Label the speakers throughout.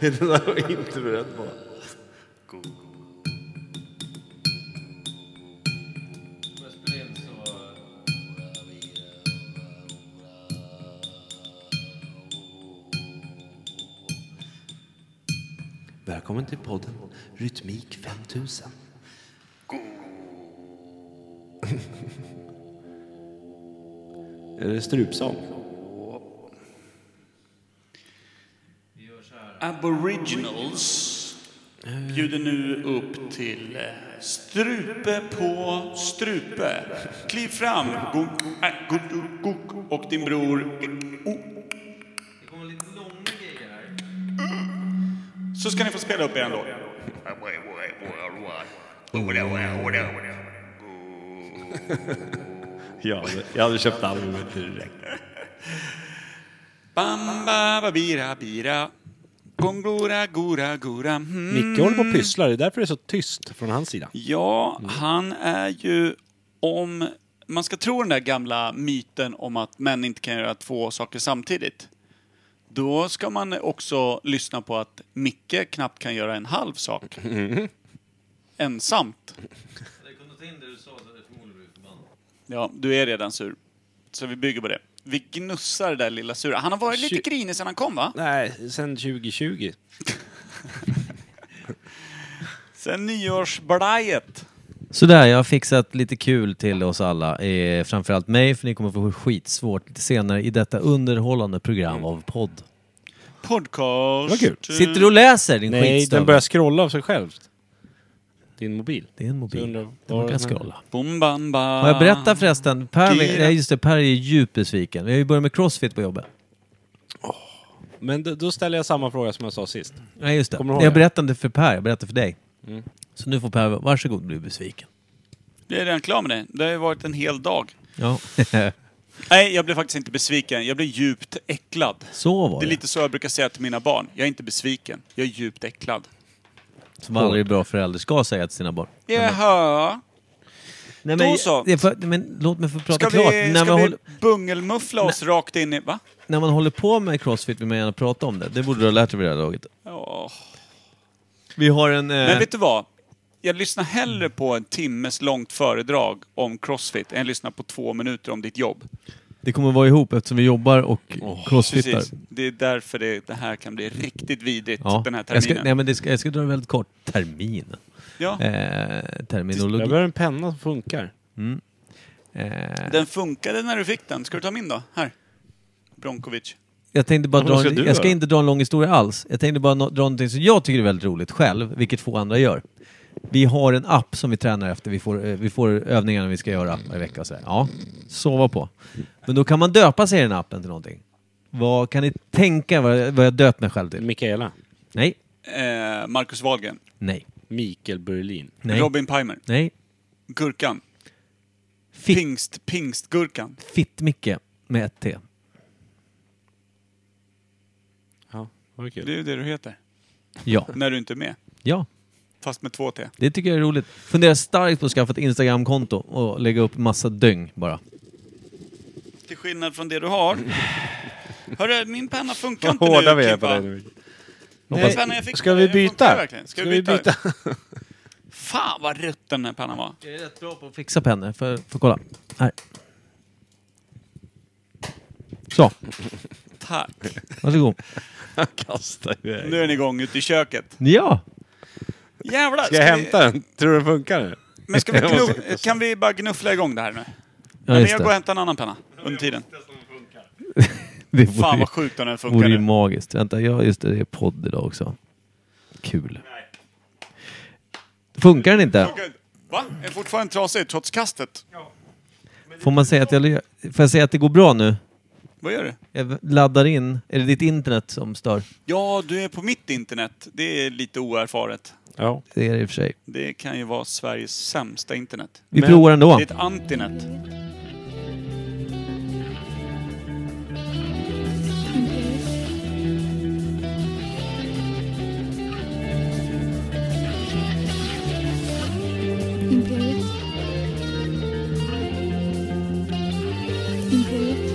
Speaker 1: Det där var inte beredd på.
Speaker 2: Välkommen till podden Rytmik 5000. Är det strupsång?
Speaker 3: Aboriginals bjuder nu upp till eh, strupe på strupe. Kliv fram, Gok, äh, Gok, Gok, Gok och din bror. Oh. Så ska ni få spela upp er ändå.
Speaker 2: Ja, jag hade köpt albumet direkt.
Speaker 3: Bamba, babira, bira. Gongora, gora, gora. Mm.
Speaker 2: Micke håller på och pysslar, det är därför det är så tyst från hans sida.
Speaker 3: Ja, han är ju om... Man ska tro den där gamla myten om att män inte kan göra två saker samtidigt. Då ska man också lyssna på att Micke knappt kan göra en halv sak. Ensamt.
Speaker 4: Hade jag kunnat ta in det du sa så hade jag förmodligen blivit förbannad.
Speaker 3: Ja, du är redan sur. Så vi bygger på det. Vi gnussar det där lilla sura. Han har varit
Speaker 2: Tju-
Speaker 3: lite grinig sedan han kom, va?
Speaker 2: Nej, sen 2020.
Speaker 3: Sen nyårsblajet.
Speaker 5: Sådär, jag har fixat lite kul till oss alla. Eh, framförallt mig, för ni kommer få skitsvårt lite senare i detta underhållande program av podd.
Speaker 3: Podcast.
Speaker 2: Vad kul.
Speaker 5: Sitter du och läser din
Speaker 2: Nej,
Speaker 5: skitstövel?
Speaker 2: den börjar scrolla av sig själv. Din mobil.
Speaker 5: Det är en
Speaker 2: Så jag
Speaker 5: mobil.
Speaker 2: undrar,
Speaker 5: Den
Speaker 2: var
Speaker 5: brukar
Speaker 2: den här-
Speaker 5: scrolla.
Speaker 3: Bom, bam, bam.
Speaker 5: Har jag berättat förresten? Per,
Speaker 3: Gira.
Speaker 5: nej, just det, per är djupt besviken. Vi har ju börjat med crossfit på jobbet.
Speaker 2: Men då, då ställer jag samma fråga som jag sa sist.
Speaker 5: Nej, just det.
Speaker 2: Kommer du ihåg
Speaker 5: Jag
Speaker 2: det? Mm.
Speaker 5: berättade inte för Per, jag berättade för dig. Så nu får Per, varsågod, bli besviken.
Speaker 3: Jag är redan klar med det. Det har ju varit en hel dag.
Speaker 5: Ja,
Speaker 3: Nej, jag blev faktiskt inte besviken. Jag blev djupt äcklad.
Speaker 5: så var
Speaker 3: Det
Speaker 5: det.
Speaker 3: är lite så jag brukar säga till mina barn. Jag är inte besviken. Jag är djupt äcklad.
Speaker 5: Som aldrig bra förälder ska säga till sina barn.
Speaker 3: Jaha.
Speaker 5: Nej,
Speaker 3: Då
Speaker 5: men,
Speaker 3: så.
Speaker 5: Det är för, men låt mig få prata
Speaker 3: Ska
Speaker 5: klart.
Speaker 3: vi,
Speaker 5: när,
Speaker 3: ska
Speaker 5: man
Speaker 3: vi
Speaker 5: håller,
Speaker 3: bungelmuffla oss rakt in i... Va?
Speaker 5: när man håller på med crossfit vill man gärna prata om det. Det borde du ha lärt dig vid det här laget.
Speaker 3: Ja.
Speaker 5: Vi har en... Eh,
Speaker 3: Men vet du vad? Jag lyssnar hellre på en timmes långt föredrag om Crossfit än lyssnar på två minuter om ditt jobb.
Speaker 5: Det kommer vara ihop eftersom vi jobbar och crossfittar.
Speaker 3: Precis. Typ Det är därför det, det här kan bli riktigt vidrigt
Speaker 5: Ja.
Speaker 3: den här
Speaker 5: jag,
Speaker 3: terminen.
Speaker 5: ska, nej, men det ska, jag ska dra det väldigt kort. Terminen.
Speaker 3: ja.
Speaker 5: Eh,
Speaker 2: Jag
Speaker 5: terminologi.
Speaker 2: behöver en penna som funkar.
Speaker 5: Eh,
Speaker 3: Den funkade när du fick den. Ska du ta min då? Här. Bronkovic.
Speaker 5: jag tänkte bara
Speaker 2: Ja, vad
Speaker 5: dra
Speaker 2: ska
Speaker 5: en,
Speaker 2: du
Speaker 5: Jag ska
Speaker 2: göra?
Speaker 5: inte dra en lång historia alls. Jag tänkte bara nå- dra någonting som jag tycker är väldigt roligt själv, vilket få andra gör. Vi har en app som vi tränar efter. Vi får, eh, vi får övningarna vi ska göra varje vecka och sådär. Ja, sova på. Men då kan man döpa sig i den appen till någonting. Vad kan ni tänka vad jag, vad jag döpt mig själv till?
Speaker 2: Mikaela.
Speaker 5: Nej.
Speaker 3: Eh, Marcus Wahlgren.
Speaker 5: Nej.
Speaker 2: Mikael Berlin.
Speaker 5: Nej.
Speaker 3: Robin Pimer.
Speaker 5: Nej.
Speaker 3: Gurkan.
Speaker 5: Fitt.
Speaker 3: Pingst, pingstgurkan.
Speaker 5: Fittmicke med ett T.
Speaker 2: Ja, vad
Speaker 3: Det
Speaker 2: kul.
Speaker 3: är ju det du heter.
Speaker 5: Ja.
Speaker 3: När du inte är med.
Speaker 5: ja,
Speaker 3: Fast med två T.
Speaker 5: det tycker jag är roligt. Funderar starkt på att skaffa ett Instagramkonto och lägga upp massa döng bara.
Speaker 3: Till skillnad från det du har. Hörru, min penna funkar inte
Speaker 2: Hårda
Speaker 3: nu.
Speaker 2: vi är på dig
Speaker 3: Kimpa.
Speaker 2: nu.
Speaker 3: Hoppas-
Speaker 2: Nej,
Speaker 3: Fan, jag fick
Speaker 2: ska
Speaker 3: det.
Speaker 2: vi
Speaker 3: Den funkar
Speaker 2: byta?
Speaker 3: verkligen. Ska vi byta? Fan vad rutten den här pennan var.
Speaker 5: Jag är rätt bra på att fixa pennor. Får får kolla. Här. Så,
Speaker 3: Tack.
Speaker 5: varsågod.
Speaker 2: Kasta iväg.
Speaker 3: Nu är ni igång ute i köket.
Speaker 5: Ja!
Speaker 3: Jävlar!
Speaker 2: Ska jag hämta den? Tror du den funkar nu?
Speaker 3: Men ska vi
Speaker 2: Jag måste
Speaker 3: gnu- kan vi bara gnuffla igång det här nu?
Speaker 5: Ja,
Speaker 3: Eller
Speaker 5: just
Speaker 3: jag går och
Speaker 5: det.
Speaker 3: hämtar en annan penna under tiden.
Speaker 5: Det
Speaker 3: Fan
Speaker 5: vore,
Speaker 3: vad sjukt om den funkar
Speaker 5: vore ju
Speaker 3: nu.
Speaker 5: magiskt. Vänta, ja, just det. Det är podd idag också. Kul. Funkar den inte?
Speaker 3: Funkar inte. Va? Är fortfarande trasig trots kastet?
Speaker 5: Får man säga att jag... Får jag säga att det går bra nu?
Speaker 3: Vad gör du?
Speaker 5: Jag laddar in. Är det ditt internet som stör?
Speaker 3: Ja, du är på mitt internet. Det är lite oerfaret.
Speaker 2: Ja.
Speaker 5: Det är det i och för sig.
Speaker 3: Det kan ju vara Sveriges sämsta internet.
Speaker 5: Vi
Speaker 2: Men-
Speaker 5: provar ändå.
Speaker 3: Det är ett antinet.
Speaker 6: Imperiet. Imperiet.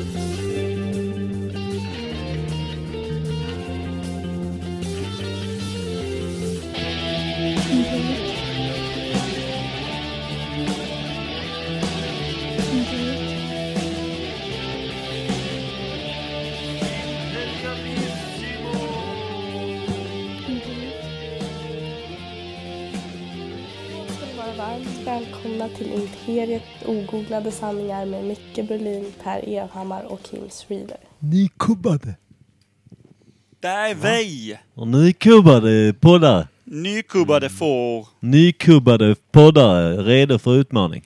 Speaker 6: och varmt välkomna till Imperiet ogooglade sanningar med Micke Berlin, Per Evhammar och Kim Schreeder.
Speaker 5: Ni kubbade.
Speaker 3: Där är vi!
Speaker 5: Och ni kubbade poddar.
Speaker 3: Nykubbade får.
Speaker 5: Ni kubbade poddar redo för utmaning.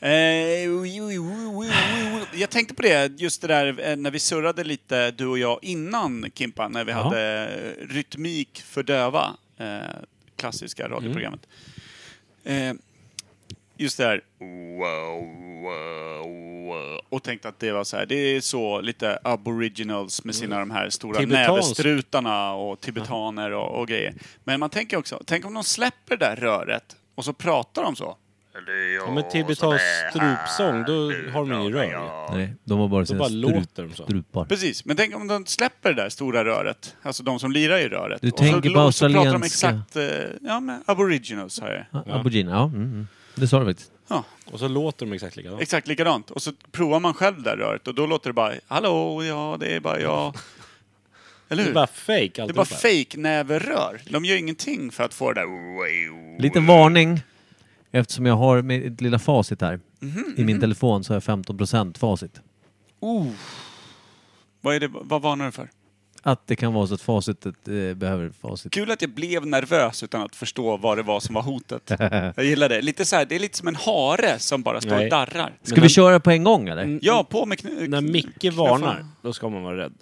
Speaker 3: Eh, oj, oj, oj, oj, oj. Jag tänkte på det, just det där eh, när vi surrade lite, du och jag, innan Kimpa, när vi
Speaker 5: Ja.
Speaker 3: hade eh, Rytmik för döva, eh, klassiska radioprogrammet. Eh, just det här, wow, wow, wow, och tänkte att det var så här, det är så lite aboriginals med sina de här stora
Speaker 2: Tibetansk.
Speaker 3: nävestrutarna och tibetaner och, och grejer. Men man tänker också, tänk om de släpper det där röret och så pratar de så.
Speaker 2: Ja, men tibetansk strupsång, då har de ingen rör.
Speaker 5: Nej, de har bara sina
Speaker 2: bara
Speaker 5: strup,
Speaker 2: låter de så.
Speaker 5: strupar.
Speaker 3: Precis, men tänk om de släpper det där stora röret. Alltså de som lirar i röret.
Speaker 5: Du
Speaker 3: Och
Speaker 5: tänker
Speaker 3: så,
Speaker 5: på
Speaker 3: och så pratar de
Speaker 5: australienska-
Speaker 3: exakt... eh, Ja, men aboriginals har jag.
Speaker 5: Ja. Aborigine, ja. Mm, mm. Det sa du faktiskt.
Speaker 3: Ja,
Speaker 2: Och så låter de exakt likadant.
Speaker 3: exakt likadant. Och så provar man själv det där röret och då låter det bara Hallå, ja, det är bara jag. Eller
Speaker 2: Det är
Speaker 3: hur?
Speaker 2: bara fake
Speaker 3: Det är
Speaker 2: alltihopa.
Speaker 3: bara fake-näverrör. De gör ingenting för att få det där...
Speaker 5: Liten varning. Eftersom jag har mitt lilla facit här. I min telefon så har jag 15% facit.
Speaker 3: Oh. Vad, är det, vad varnar du för?
Speaker 5: Att det kan vara så att facitet eh, behöver facit.
Speaker 3: Kul att jag blev nervös utan att förstå vad det var som var hotet. Jag gillar det. Lite så här, det är lite som en hare som bara står och
Speaker 2: Nej.
Speaker 3: darrar.
Speaker 5: Ska vi köra på en gång eller?
Speaker 3: Ja, på med kn-
Speaker 2: När Micke
Speaker 3: knuffarna.
Speaker 2: varnar, då ska man vara rädd.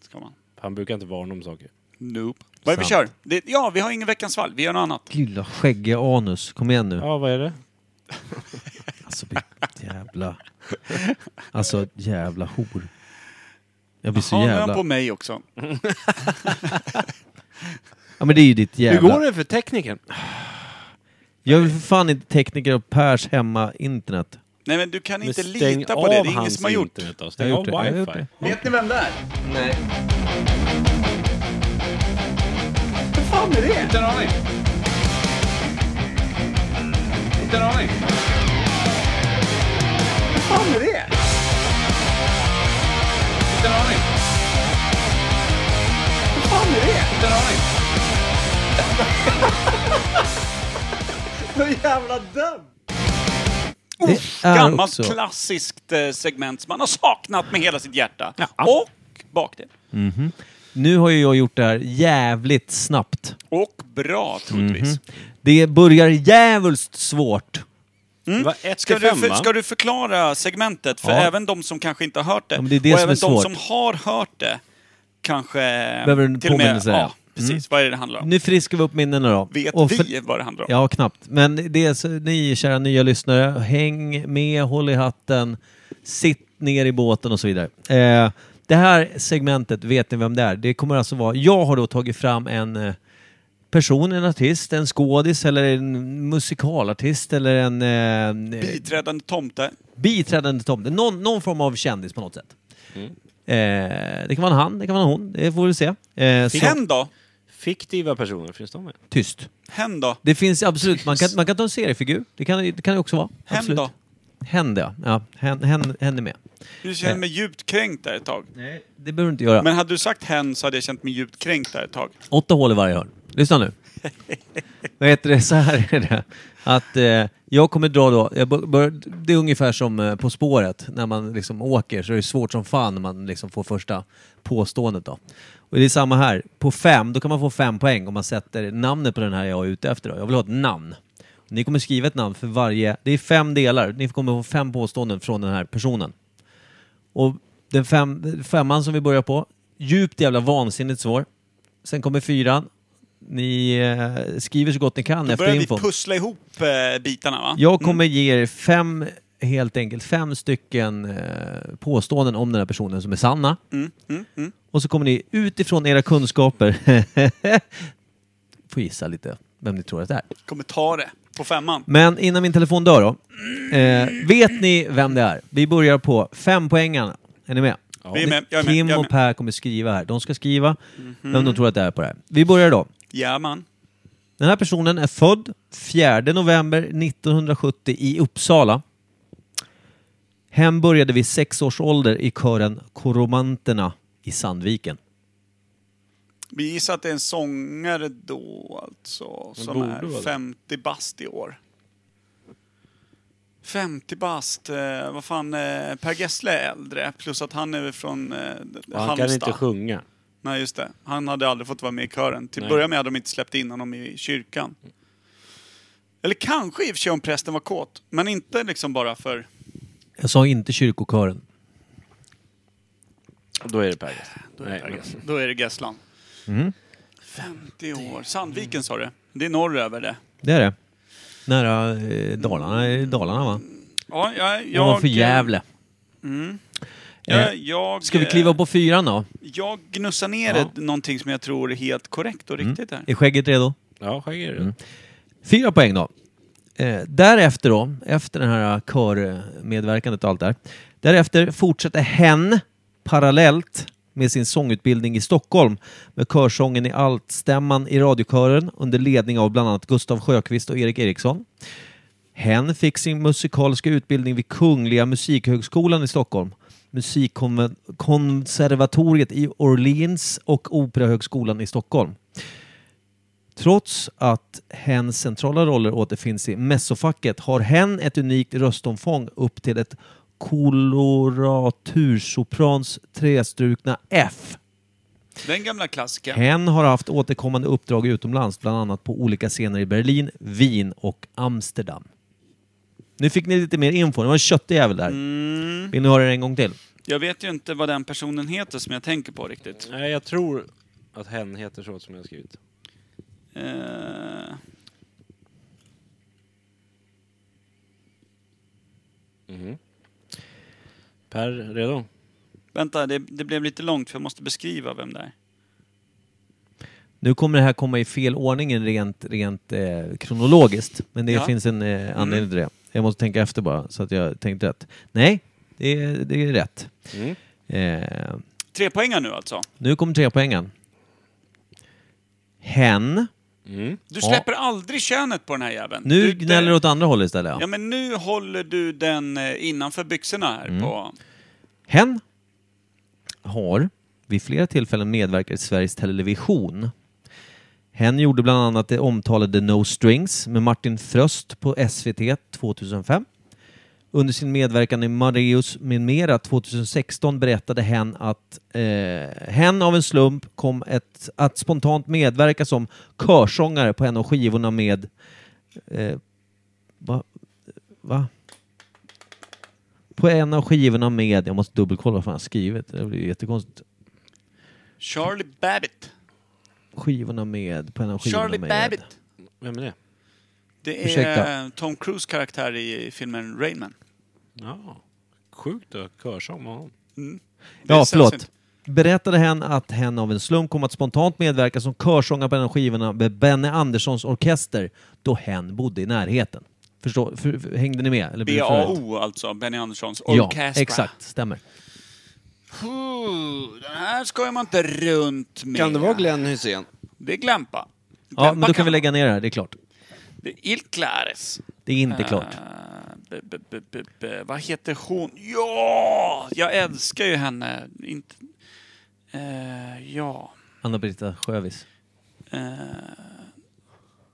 Speaker 3: Ska man.
Speaker 2: Han brukar inte varna om saker.
Speaker 3: Nope. Vad är vi kör? Det, ja, vi har ingen Veckans fall. Vi gör något annat.
Speaker 5: Lilla skäggiga anus. Kom igen nu.
Speaker 2: Ja, vad är det?
Speaker 5: Alltså vilket jävla... Alltså jävla hor. Jag blir så
Speaker 3: Ja, nu är han på
Speaker 5: jävla...
Speaker 3: mig också.
Speaker 5: Ja men det är ju ditt jävla...
Speaker 2: Hur går det för tekniken?
Speaker 5: Jag är väl för fan inte tekniker av Pers hemma internet.
Speaker 3: Nej, men du kan inte
Speaker 2: Men stäng
Speaker 3: lita på
Speaker 2: av
Speaker 3: det. Det är ingen
Speaker 2: hans
Speaker 3: som har gjort.
Speaker 2: Internet, då.
Speaker 5: Jag
Speaker 2: Stäng
Speaker 5: har
Speaker 2: av
Speaker 5: gjort det. Jag har gjort
Speaker 2: wifi.
Speaker 5: det.
Speaker 3: Vet ni vem det är?
Speaker 4: Inte en aning. Inte en aning. Vad fan är det? Inte en aning. Vad fan är det? Inte en aning. Så jävla dum!
Speaker 5: Det är
Speaker 3: Gammalt
Speaker 5: också...
Speaker 3: klassiskt eh, segment som man har saknat med hela sitt hjärta. Och bakdel.
Speaker 5: Nu har ju jag gjort det här jävligt snabbt.
Speaker 3: Och bra, troligtvis.
Speaker 5: Mhm. Det börjar jävulst svårt.
Speaker 2: Det var 1
Speaker 3: Mm. Ska
Speaker 2: till
Speaker 3: du,
Speaker 2: 5
Speaker 3: för,
Speaker 2: va?
Speaker 3: ska du förklara segmentet för
Speaker 5: Ja.
Speaker 3: även de som kanske inte har hört det,
Speaker 5: Ja, men det är det
Speaker 3: och
Speaker 5: som
Speaker 3: även
Speaker 5: är
Speaker 3: de
Speaker 5: svårt.
Speaker 3: som har hört det kanske...
Speaker 5: Behöver en
Speaker 3: till och med-
Speaker 5: påminnelse,
Speaker 3: Ja,
Speaker 5: ja.
Speaker 3: precis.
Speaker 5: Mm.
Speaker 3: Vad är det det handlar om?
Speaker 5: Nu friskar vi upp minnena då.
Speaker 3: Vet
Speaker 5: Och
Speaker 3: vi
Speaker 5: för-
Speaker 3: vad det handlar om?
Speaker 5: Ja, knappt. Men det är så, ni kära nya lyssnare, häng med, håll i hatten, sitt ner i båten och så vidare. Eh, det här segmentet, vet ni vem det är? Det kommer alltså vara, jag har då tagit fram en eh, person, en artist, en skådis eller en musikalartist eller en eh, eh,
Speaker 3: Biträdande tomte.
Speaker 5: biträdande tomte. Någon, någon form av kändis på något sätt. Eh, det kan vara en han, det kan vara en hon, det får vi se. Eh, så,
Speaker 3: Hen då?
Speaker 2: Fiktiva personer, finns de med?
Speaker 5: tyst.
Speaker 3: Hen då?
Speaker 5: Det finns absolut, man kan, man kan ta en seriefigur. Det kan det kan det också vara.
Speaker 3: Hen
Speaker 5: Absolut.
Speaker 3: då?
Speaker 5: Hen då? Ja, hen, hen, hen är med.
Speaker 3: Du känner mig djupt kränkt där ett tag.
Speaker 5: Nej. Det behöver du inte göra.
Speaker 3: Men hade du sagt hen så hade jag känt mig djupt kränkt där ett tag.
Speaker 5: Åtta hål i varje hörn. Lyssna nu. Vad heter det? Så här är det. Att eh, jag kommer dra då, jag bör, bör, det är ungefär som eh, På spåret, när man liksom åker så är det svårt som fan när man liksom får första påståendet då. Och det är samma här, på fem, då kan man få fem poäng om man sätter namnet på den här jag är ute efter då. Jag vill ha ett namn. Ni kommer skriva ett namn för varje, det är fem delar, ni kommer få fem påståenden från den här personen. Och den fem, femman som vi börjar på, djupt jävla vansinnigt svår. Sen kommer fyran. Ni eh, skriver så gott ni kan
Speaker 3: Då
Speaker 5: efter
Speaker 3: börjar vi
Speaker 5: infon.
Speaker 3: pussla ihop eh, bitarna va?
Speaker 5: Jag kommer ge er fem, helt enkelt, fem stycken eh, påståenden om den här personen som är sanna.
Speaker 3: Mm,
Speaker 5: Och så kommer ni utifrån era kunskaper få gissa lite vem ni tror att det är.
Speaker 3: Kommer ta det på femman.
Speaker 5: Men innan min telefon dör då. Eh,
Speaker 3: Mm.
Speaker 5: vet ni vem det är? Vi börjar på fem poängarna. Är ni med?
Speaker 3: Vi är med, jag är med,
Speaker 5: Kim
Speaker 3: jag är
Speaker 5: och
Speaker 3: med. Mhm.
Speaker 5: Per kommer skriva här. De ska skriva vem de tror att det är på det här. Vi börjar då.
Speaker 3: Ja man.
Speaker 5: Den här personen är född 4 november 1970 i Uppsala. Hem började vid sex års ålder i kören Koromanterna i Sandviken.
Speaker 3: Vi gissar att det är en sångare då alltså, som
Speaker 2: borde
Speaker 3: är
Speaker 2: vara det.
Speaker 3: 50 bast i år. 50 bast, eh, vad fan, eh, Per Gessle är äldre. Plus att han är från eh,
Speaker 2: Och han kan
Speaker 3: Halmstad.
Speaker 2: inte sjunga.
Speaker 3: Nej, just det. Han hade aldrig fått vara med i kören. Till
Speaker 2: Nej.
Speaker 3: att börja med hade de inte släppt in honom i kyrkan. Eller kanske i och för sig om prästen var kåt, men inte liksom bara för...
Speaker 5: Jag sa inte kyrkokören.
Speaker 2: Då är det Per Gessle. Nej, men-
Speaker 3: Då är det Gesslan.
Speaker 5: Mm.
Speaker 3: 50 år. Sandviken sa du? Det är norröver det.
Speaker 5: Det är det. Nära eh, Dalarna, eh, Dalarna va?
Speaker 3: Ja, jag...
Speaker 5: Jag, Mm.
Speaker 3: jag
Speaker 5: för Gävle.
Speaker 3: Jag,
Speaker 5: Eh,
Speaker 3: jag, eh,
Speaker 5: Ska vi kliva på fyran då?
Speaker 3: Jag gnussar ner
Speaker 5: Ja. Mm.
Speaker 3: ett, någonting som jag tror är helt korrekt och riktigt här.
Speaker 5: Är skägget redo?
Speaker 2: Ja, skägg är det.
Speaker 5: Mm. Fyra poäng då. Eh, därefter då, efter den här eh, körmedverkandet och allt där. Därefter fortsätter hen parallellt med sin sångutbildning i Stockholm med körsången i altstämman i radiokören under ledning av bland annat Gustav Sjökvist och Erik Eriksson. Hen fick sin musikaliska utbildning vid Kungliga Musikhögskolan i Stockholm, Musikkonservatoriet i Orleans och Operahögskolan i Stockholm. Trots att hens centrala roller återfinns i messofacket har hen ett unikt röstomfång upp till ett koloraturssoprans trestrukna F.
Speaker 3: Den gamla klassikern.
Speaker 5: Hen har haft återkommande uppdrag utomlands, bland annat på olika scener i Berlin, Wien och Amsterdam. Nu fick ni lite mer info, det var en köttig jävel där. Vill ni höra det en gång till?
Speaker 3: Jag vet ju inte vad den personen heter som jag tänker på riktigt.
Speaker 2: Nej, jag tror att hen heter så som jag har skrivit.
Speaker 3: Eh,
Speaker 2: Per, redo?
Speaker 3: vänta, det, det blev lite långt för jag måste beskriva vem det är.
Speaker 5: Nu kommer det här komma i fel ordning rent, rent eh, kronologiskt, men det
Speaker 3: Ja. Mm.
Speaker 5: finns en eh, anledning till det. Jag måste tänka efter bara, så att jag tänkte rätt. Nej, det är, det är rätt.
Speaker 2: Mm.
Speaker 5: Eh,
Speaker 3: Tre poängar nu alltså.
Speaker 5: nu kommer tre poängen. Hen.
Speaker 3: Du släpper aldrig könet på den här jäveln.
Speaker 5: Nu
Speaker 3: du,
Speaker 5: gnäller du åt andra hållet istället.
Speaker 3: Ja, men nu håller du den eh, innanför byxorna här
Speaker 5: Mm.
Speaker 3: på...
Speaker 5: Hen har vid flera tillfällen medverkat i Sveriges Television. Hen gjorde bland annat det omtalade No Strings med Martin Fröst på SVT 2005. Under sin medverkan i Marius med mera 2016 berättade hen att eh, hen av en slump kom ett, att spontant medverka som körsångare på en av skivorna med... Eh, va? va? På en av skivorna med... Jag måste dubbelkolla vad fan jag har skrivit. Det blir ju jättekonstigt.
Speaker 3: Charlie Babbitt.
Speaker 5: Skivorna med... På en av skivorna
Speaker 3: Charlie
Speaker 5: med...
Speaker 3: Babbitt.
Speaker 2: Vem är det?
Speaker 3: Det är
Speaker 5: Ursäkta.
Speaker 3: Tom Cruise karaktär i filmen Rainman.
Speaker 2: Ja. Sjukt att körsång med honom.
Speaker 3: Det är
Speaker 5: Ja, förlåt.
Speaker 3: sällsynt.
Speaker 5: Berättade hen att hen av en slump kom att spontant medverka som körsångare på en av skivorna med Benny Anderssons orkester då hen bodde i närheten. Förstår, för, för, hängde ni med? Eller blev det för rätt?
Speaker 3: BAO alltså, Benny Anderssons
Speaker 5: Ja,
Speaker 3: Orchestra.
Speaker 5: exakt. Stämmer.
Speaker 3: Puh, Den här skojar man inte runt med.
Speaker 2: Kan det vara Glenn Hysén?
Speaker 3: Det är Glampa.
Speaker 5: Ja, men då kan vi lägga ner det här. Det är klart.
Speaker 3: Det är Il Clares.
Speaker 5: Det är inte klart.
Speaker 3: Eh, b- b- b- b- b- Vad heter hon? Ja! Jag älskar ju henne. Inte... Eh, ja. eh,
Speaker 5: Anna-Britta Sjövis.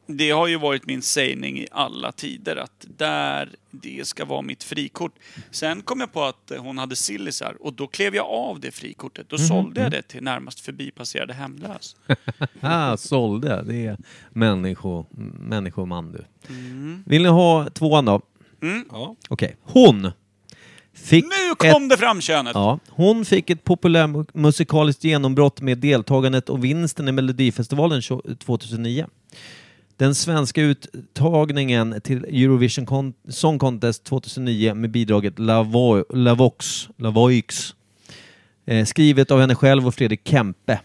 Speaker 3: Det har ju varit min sägning i alla tider att där, det ska vara mitt frikort. Sen kom jag på att hon hade sillisar och då klev jag av det frikortet.
Speaker 5: Mhm,
Speaker 3: Då sålde jag det till närmast förbipasserade hemlös.
Speaker 5: Ah, sålde. Det är människo, människoman du.
Speaker 3: Mm.
Speaker 5: Vill ni ha tvåan då?
Speaker 2: Ja.
Speaker 5: Okej. Hon fick
Speaker 3: Nu
Speaker 5: ett
Speaker 3: kom det fram könet!
Speaker 5: Ja, hon fick ett populärmusikaliskt genombrott med deltagandet och vinsten i Melodifestivalen 2009. Den svenska uttagningen till Eurovision Con- Song Contest 2009 med bidraget Lavo- Lavox, Lavoix, eh, skrivet av henne själv och Fredrik Kempe.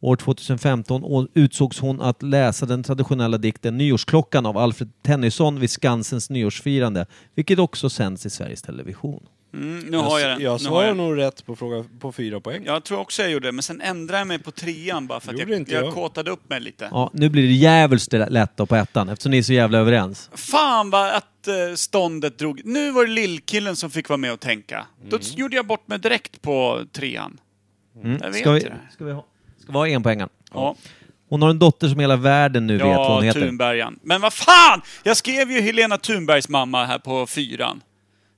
Speaker 5: År 2015 å- utsågs hon att läsa den traditionella dikten Nyårsklockan av Alfred Tennyson vid Skansens nyårsfirande, vilket också sänds i Sveriges Television.
Speaker 3: Mm, nu har jag den.
Speaker 2: Jag
Speaker 3: nu har
Speaker 2: svarar
Speaker 3: jag, den.
Speaker 2: nog rätt på fråga på fyra poäng.
Speaker 3: jag tror också jag gjorde det, men sen ändrade jag mig på trean bara för att jag,
Speaker 2: Gjorde
Speaker 3: jag,
Speaker 2: inte jag.
Speaker 3: kåtade upp mig lite.
Speaker 5: Ja, nu blir det djävulskt lätt då på ettan eftersom ni är så jävla överens.
Speaker 3: Fan vad att eh, ståndet drog... Nu var det lillkillen som fick vara med och tänka. Då
Speaker 5: Mm.
Speaker 3: gjorde jag bort mig direkt på trean. Jag vet
Speaker 5: Ska vi,
Speaker 3: ju det.
Speaker 5: ska vi ha, ska vi ha en poängen?
Speaker 3: Ja.
Speaker 5: Hon har en dotter som hela världen nu vet vad hon
Speaker 3: Ja,
Speaker 5: heter.
Speaker 3: Thunbergan. Men vad fan! Jag skrev ju Helena Thunbergs mamma här på fyran.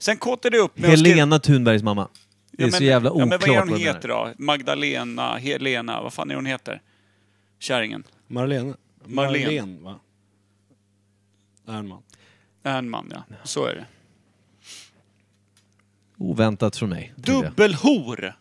Speaker 3: Sen kåtade jag upp med att skriva-
Speaker 5: Helena Thunbergs mamma. Det är
Speaker 3: Ja, men-
Speaker 5: så jävla oklart
Speaker 3: ja, men vad är hon
Speaker 5: menar.
Speaker 3: heter då? Magdalena, Helena, vad fan är hon heter? Kärringen.
Speaker 2: Marlene.
Speaker 3: Marlene.
Speaker 2: Marlene, va? Ernman.
Speaker 3: Ernman, ja. Så är det.
Speaker 5: Oväntat från mig. tycker jag.
Speaker 3: Dubbelhor!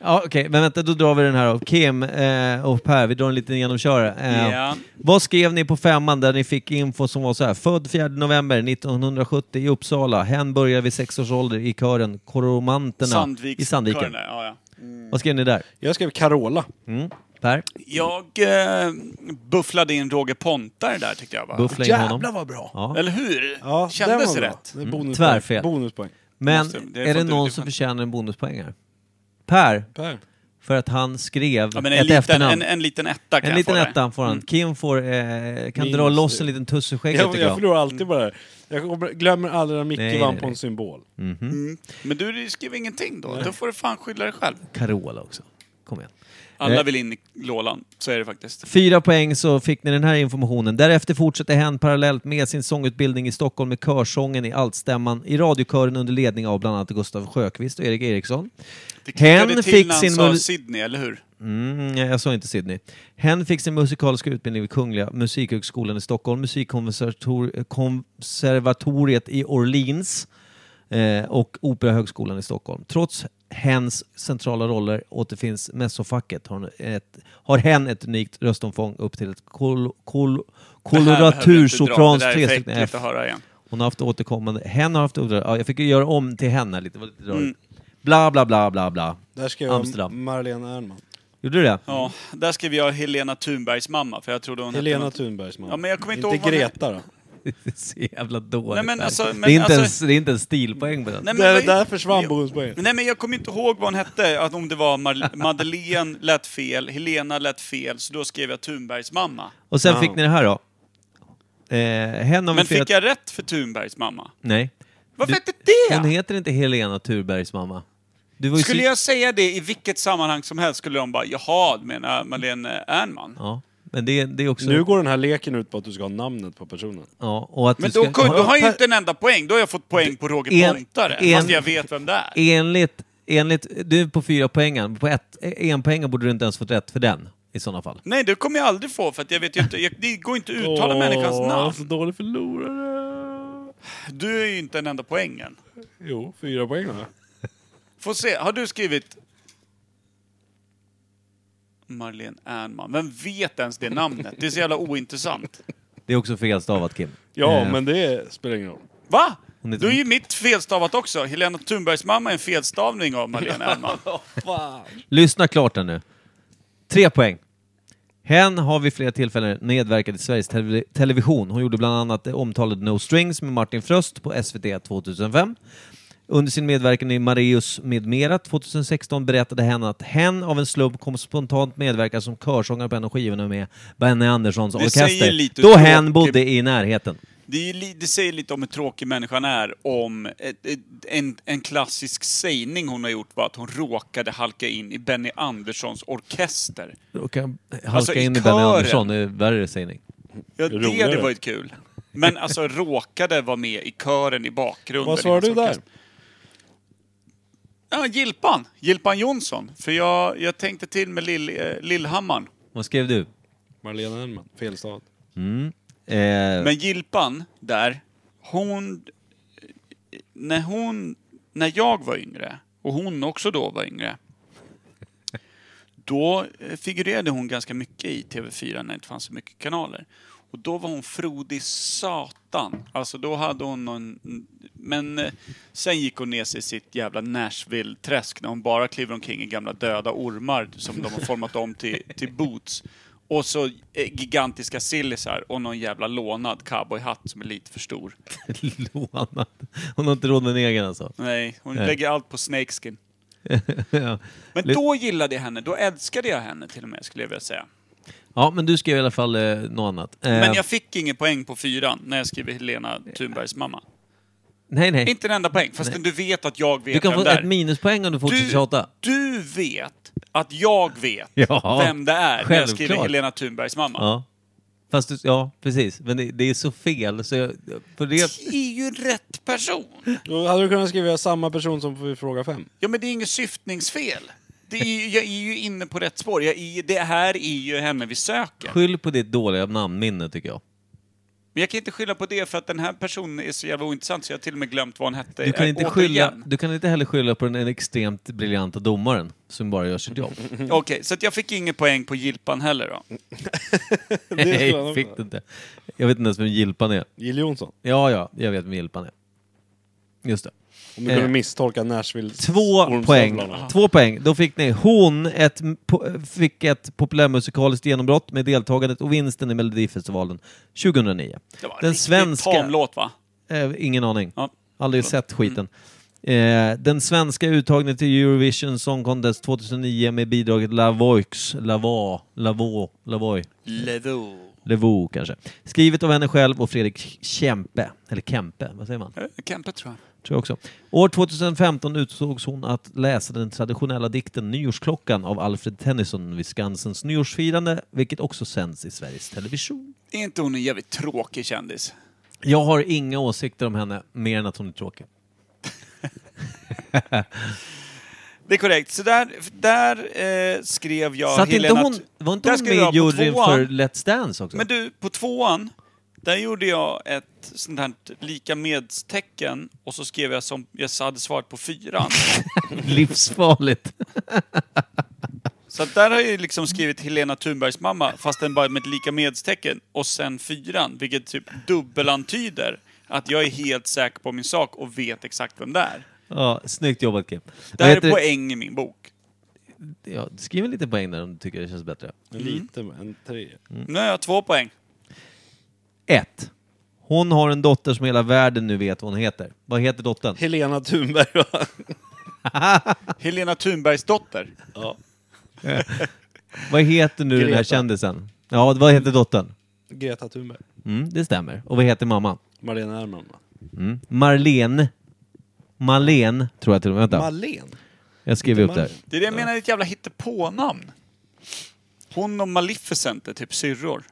Speaker 5: Ja, Okej, men vänta, då drar vi den här av Kim eh, och Per. Vi drar en liten genomkörare. Eh,
Speaker 3: Ja.
Speaker 5: Vad skrev ni på femman där ni fick info som var så här? Född 4 november 1970 i Uppsala. Hen började vid sex års ålder i kören Koromanterna
Speaker 3: Sandviks
Speaker 5: i Sandviken.
Speaker 3: körerna, Ja, ja.
Speaker 5: Vad skrev ni där?
Speaker 2: Jag skrev Carola.
Speaker 5: Mm. Per?
Speaker 3: Jag eh, bufflade in Roger Pontare där tyckte jag. Va?
Speaker 5: Buffla in
Speaker 2: Jävlar
Speaker 5: honom.
Speaker 2: vad bra!
Speaker 5: Ja.
Speaker 3: Eller hur?
Speaker 2: Ja,
Speaker 3: Kändes
Speaker 2: den var bra.
Speaker 3: rätt.
Speaker 2: Det är bonuspoäng.
Speaker 5: Tvärfel.
Speaker 2: Bonuspoäng.
Speaker 5: Men
Speaker 3: Måste- det
Speaker 5: är
Speaker 3: får
Speaker 5: det
Speaker 3: inte-
Speaker 5: någon
Speaker 3: det får
Speaker 5: som
Speaker 3: inte-
Speaker 5: förtjänar en bonuspoäng här? Per,
Speaker 2: Per.
Speaker 5: för att han skrev
Speaker 3: Ja, men en,
Speaker 5: ett
Speaker 3: liten,
Speaker 5: efternamn.
Speaker 3: en, en liten etta kan
Speaker 5: En liten
Speaker 3: jag få Mm. där.
Speaker 5: etta får han. Kim får, eh, kan
Speaker 2: Minus
Speaker 5: dra loss
Speaker 2: det.
Speaker 5: en liten tuss ur skägget
Speaker 2: Jag,
Speaker 5: tycker
Speaker 2: jag
Speaker 5: jag.
Speaker 2: förlorar alltid bara det här. Jag kommer- glömmer aldrig när
Speaker 5: Nej,
Speaker 2: Micke
Speaker 5: nej,
Speaker 2: vann
Speaker 5: nej. Mm.
Speaker 2: på en symbol.
Speaker 3: Mm. Men du skriver ingenting då. Då får du fan skylla dig själv.
Speaker 5: Carola också. Kom igen.
Speaker 3: Alla
Speaker 5: Nej.
Speaker 3: vill in i lådan. Så är det faktiskt.
Speaker 5: Fyra poäng så fick ni den här informationen. Därefter fortsatte hen parallellt med sin sångutbildning i Stockholm med körsången i Altstämman i radiokören under ledning av bland annat Gustav Sjökvist och Erik Eriksson.
Speaker 3: Det
Speaker 5: Hen
Speaker 3: klickade till
Speaker 5: fick
Speaker 3: när han
Speaker 5: sin
Speaker 3: sa
Speaker 5: mul-
Speaker 3: Sydney, eller hur?
Speaker 5: Mm, jag sa inte Sydney. Hen fick sin musikaliska utbildning vid Kungliga Musikhögskolan i Stockholm, Musikkonservatoriet i Orleans eh, och Operahögskolan i Stockholm. Trots hens centrala roller återfinns messofacket har, hon ett, har hen ett unikt röstomfång upp till ett kol, kol, koloratursoprans
Speaker 3: Det här behöver vi inte dra. Det där
Speaker 5: trestycken
Speaker 3: är för äckligt
Speaker 5: F.
Speaker 3: att höra igen.
Speaker 5: Hon har haft återkommande... Hen har haft återkommande... Ja, jag fick ju göra om till hen här lite. Det var lite
Speaker 3: Mm.
Speaker 5: rörigt. Bla, bla, bla, bla, bla.
Speaker 2: Där skrev jag
Speaker 5: Amsterdam.
Speaker 2: Marlene Ernman.
Speaker 5: Gjorde du det?
Speaker 3: Ja, där skrev jag Helena Thunbergs mamma, för jag trodde hon hette
Speaker 2: Helena
Speaker 3: något.
Speaker 2: Thunbergs man.
Speaker 3: Ja, men jag kommer inte ihåg
Speaker 2: inte
Speaker 3: vad hon-
Speaker 2: Greta då.
Speaker 5: Det är så jävla dåligt.
Speaker 3: Nej, men
Speaker 5: där.
Speaker 3: alltså- men
Speaker 5: det, är inte
Speaker 3: alltså-
Speaker 5: ens, det är inte en stilpoäng på den.
Speaker 3: Nej, men
Speaker 2: Där,
Speaker 3: vad-
Speaker 2: där försvann
Speaker 3: Jo.
Speaker 2: bonuspoängen.
Speaker 3: Nej men jag kommer inte ihåg vad hon hette, att om det var Mar- Madeleine lät fel, Helena lät fel, så då skrev jag Thunbergs mamma.
Speaker 5: Och sen fick ni det här då. Eh, hen har
Speaker 3: Men
Speaker 5: väl
Speaker 3: fick
Speaker 5: firat...
Speaker 3: jag rätt för Thunbergs mamma?
Speaker 5: Nej.
Speaker 3: Varför
Speaker 5: Du-
Speaker 3: hette det?
Speaker 5: Hon heter inte Helena Thurbergs mamma. Du var ju
Speaker 3: Skulle
Speaker 5: så-
Speaker 3: jag säga det i vilket sammanhang som helst skulle de bara ”Jaha, du menar Madeleine eh, Ernman?”
Speaker 5: Ja, men det, det är också...
Speaker 2: Nu går den här leken ut på att du ska ha namnet på personen.
Speaker 5: Ja, och att
Speaker 3: Men
Speaker 5: du ska...
Speaker 3: då, kunde- då har jag ju
Speaker 2: Per-
Speaker 3: inte en enda poäng, då har jag fått poäng på Roger
Speaker 5: En-
Speaker 3: Pontare,
Speaker 5: en-
Speaker 3: fast jag vet vem det är.
Speaker 5: Enligt, enligt... Du är på fyra poängen. På ett, en poängen borde du inte ens fått rätt för den, i sådana fall.
Speaker 3: Nej, det kommer jag aldrig få, för att jag vet ju inte, jag, det går inte att uttala människans
Speaker 2: så
Speaker 3: namn.
Speaker 2: dålig förlorare.
Speaker 3: Du är ju inte en enda poängen.
Speaker 2: Jo, fyra poäng då.
Speaker 3: Få se, har du skrivit... Marlene Ernman. Vem vet ens det namnet? Det är så jävla ointressant.
Speaker 5: Det är också felstavat, Kim.
Speaker 2: Ja,
Speaker 5: Eh,
Speaker 2: men det spelar ingen roll.
Speaker 3: Va?
Speaker 5: Hon heter-
Speaker 3: Då är ju mitt felstavat också. Helena Thunbergs mamma är en felstavning av Marlene Ernman.
Speaker 5: Lyssna klart här nu. Tre poäng. Hen har vid flera tillfällen medverkat i Sveriges televi- Television. Hon gjorde bland annat det omtalade No Strings med Martin Fröst på SVT 2005. Under sin medverkan i Marius med mera 2016 berättade hen att hen av en slump kom spontant medverka som körsångare på en av skivorna med Benny Anderssons
Speaker 3: Det säger
Speaker 5: orkester.
Speaker 3: lite
Speaker 5: då hen
Speaker 3: tråkigt.
Speaker 5: bodde i närheten.
Speaker 3: Det, är ju li- det säger lite om hur tråkig människan är om ett, ett, en, en klassisk sägning hon har gjort var att hon råkade halka in i Benny Anderssons orkester.
Speaker 5: Och kan halka
Speaker 3: Alltså, i
Speaker 5: in i Benny
Speaker 3: kören.
Speaker 5: Andersson, det är värre sägning.
Speaker 3: Ja,
Speaker 2: är
Speaker 3: det,
Speaker 2: roligare.
Speaker 3: det var ju kul. Men alltså råkade vara med i kören i bakgrunden.
Speaker 2: Vad
Speaker 3: i
Speaker 2: svarar
Speaker 3: hans
Speaker 2: du där?
Speaker 3: orkester. Ja, Gilpan. Gilpan Jonsson. För jag, jag tänkte till med lill, eh, Lillhammaren.
Speaker 5: Vad skrev du?
Speaker 2: Marlene Ernman, felstad.
Speaker 5: Eh,
Speaker 3: Men Gilpan där, hon... eh, När hon... När jag var yngre, och hon också då var yngre, då eh, figurerade hon ganska mycket i TV4 när det inte fanns så mycket kanaler. Och då var hon frodig satan. Alltså då hade hon någon... Men eh, sen gick hon ner sig i sitt jävla Nashville-träsk när hon bara kliver omkring i gamla döda ormar som de har format om till, till boots. Och så eh, gigantiska sillisar och någon jävla lånad cowboyhatt som är lite för stor.
Speaker 5: Lånat. Hon har inte råd med en egen alltså.
Speaker 3: Nej, hon
Speaker 5: Nej.
Speaker 3: lägger allt på snakeskin.
Speaker 5: ja.
Speaker 3: Men
Speaker 5: Li-
Speaker 3: då gillade jag henne, då älskade jag henne till och med skulle jag vilja säga.
Speaker 5: ja, men du skrev i alla fall eh, något annat. Eh,
Speaker 3: Men jag fick ingen poäng på fyran när jag skrev Helena Thunbergs mamma.
Speaker 5: Nej, nej.
Speaker 3: Inte en enda poäng, fast du vet att jag vet
Speaker 5: Du kan
Speaker 3: vem
Speaker 5: få
Speaker 3: det är.
Speaker 5: ett minuspoäng om du fortsätter
Speaker 3: Du,
Speaker 5: tjata.
Speaker 3: du vet att jag vet
Speaker 5: Ja,
Speaker 3: vem det är när jag skriver
Speaker 5: självklart.
Speaker 3: Helena Thunbergs mamma.
Speaker 5: Ja. Fast du, ja, precis. Men det, det är så fel. Så jag, för det,
Speaker 3: Det är ju rätt person!
Speaker 2: Då hade du kunnat skriva samma person som på fråga fem.
Speaker 3: Ja, men det är inget syftningsfel. Det är ju, jag är ju inne på rätt spår. Jag är, det här är ju henne vi söker.
Speaker 5: skyll på ditt dåliga namnminne, tycker jag.
Speaker 3: Men jag kan inte skylla på det för att den här personen är så jävla ointressant så jag har till och med glömt vad hon hette. Äh,
Speaker 5: Du kan, inte
Speaker 3: Eh, Återigen.
Speaker 5: skylla, du kan inte heller skylla på den extremt briljanta domaren som bara gör sitt jobb.
Speaker 3: Okej, så att jag fick ingen poäng på Gilpan heller då.
Speaker 2: skulle
Speaker 5: Nej,
Speaker 2: han
Speaker 5: fick
Speaker 2: också.
Speaker 5: du inte. Jag vet inte ens vem Gilpan är.
Speaker 2: Jill Johnson.
Speaker 5: Ja, ja, jag vet vem Gilpan är. Just det.
Speaker 2: Om du
Speaker 5: Eh.
Speaker 2: kunde misstolka Nashville.
Speaker 5: Två poäng. Två poäng. Då fick ni hon ett, m- po- fick ett populärmusikaliskt genombrott med deltagandet och vinsten i Melodifestivalen 2009.
Speaker 3: Det var en
Speaker 5: Den
Speaker 3: riktig
Speaker 5: svenska...
Speaker 3: Tamlåt va?
Speaker 5: Eh, ingen aning.
Speaker 3: Ja.
Speaker 5: Aldrig sett skiten. Eh, den svenska uttagningen till Eurovision Song Contest 2009 med bidraget La Voix, La Va, La Vaux, La Voix,
Speaker 3: Levo.
Speaker 5: Levo kanske. Skrivet av henne själv och Fredrik Kempe, eller Kempe, vad säger man?
Speaker 3: Kempe Eh, tror jag.
Speaker 5: Tror jag också. År 2015 utsågs hon att läsa den traditionella dikten Nyårsklockan av Alfred Tennyson vid Skansens nyårsfirande, vilket också sänds i Sveriges Television.
Speaker 3: Är inte hon en jävligt tråkig kändis?
Speaker 5: Jag har inga åsikter om henne, mer än att hon är tråkig.
Speaker 3: Det är korrekt. Så där, där eh, skrev jag
Speaker 5: Satt inte
Speaker 3: Helena...
Speaker 5: hon,
Speaker 3: Th-
Speaker 5: var inte
Speaker 3: där
Speaker 5: hon med
Speaker 3: skrev
Speaker 5: i
Speaker 3: jag på
Speaker 5: juryn
Speaker 3: tvåan.
Speaker 5: för Let's Dance också?
Speaker 3: Men du, på tvåan, där gjorde jag ett sånt här lika medstecken och så skrev jag som jag hade svarat på fyran.
Speaker 5: Livsfarligt.
Speaker 3: Så att där har jag ju liksom skrivit Helena Thunbergs mamma, fast den bara med ett lika medstecken och sen fyran, vilket typ dubbelantyder att jag är helt säker på min sak och vet exakt vem det är.
Speaker 5: Ja, snyggt jobbat Kim.
Speaker 3: Det
Speaker 5: Vad
Speaker 3: här
Speaker 5: heter-
Speaker 3: är poäng i min bok.
Speaker 5: Ja, skriv en liten poäng där om du tycker det känns bättre.
Speaker 2: Lite, en tre.
Speaker 5: Mm.
Speaker 3: Nu har jag två poäng.
Speaker 5: 1. Hon har en dotter som hela världen nu vet vad hon heter. Vad heter dottern?
Speaker 2: Helena Thunberg va?
Speaker 3: Helena Thunbergs dotter.
Speaker 5: Vad heter nu den här
Speaker 2: Greta.
Speaker 5: kändisen? Ja, vad heter dottern?
Speaker 2: Greta Thunberg.
Speaker 5: Mm, det stämmer. Och vad heter mamman?
Speaker 2: Marlena Ernman va?
Speaker 5: Mm. Marlene. Marlene, tror jag till och med. Vänta,
Speaker 2: Marlen?
Speaker 5: jag skriver upp där.
Speaker 3: Det är det jag menar, är ett jävla hittepånamn. Hon och Maleficent är typ syrror.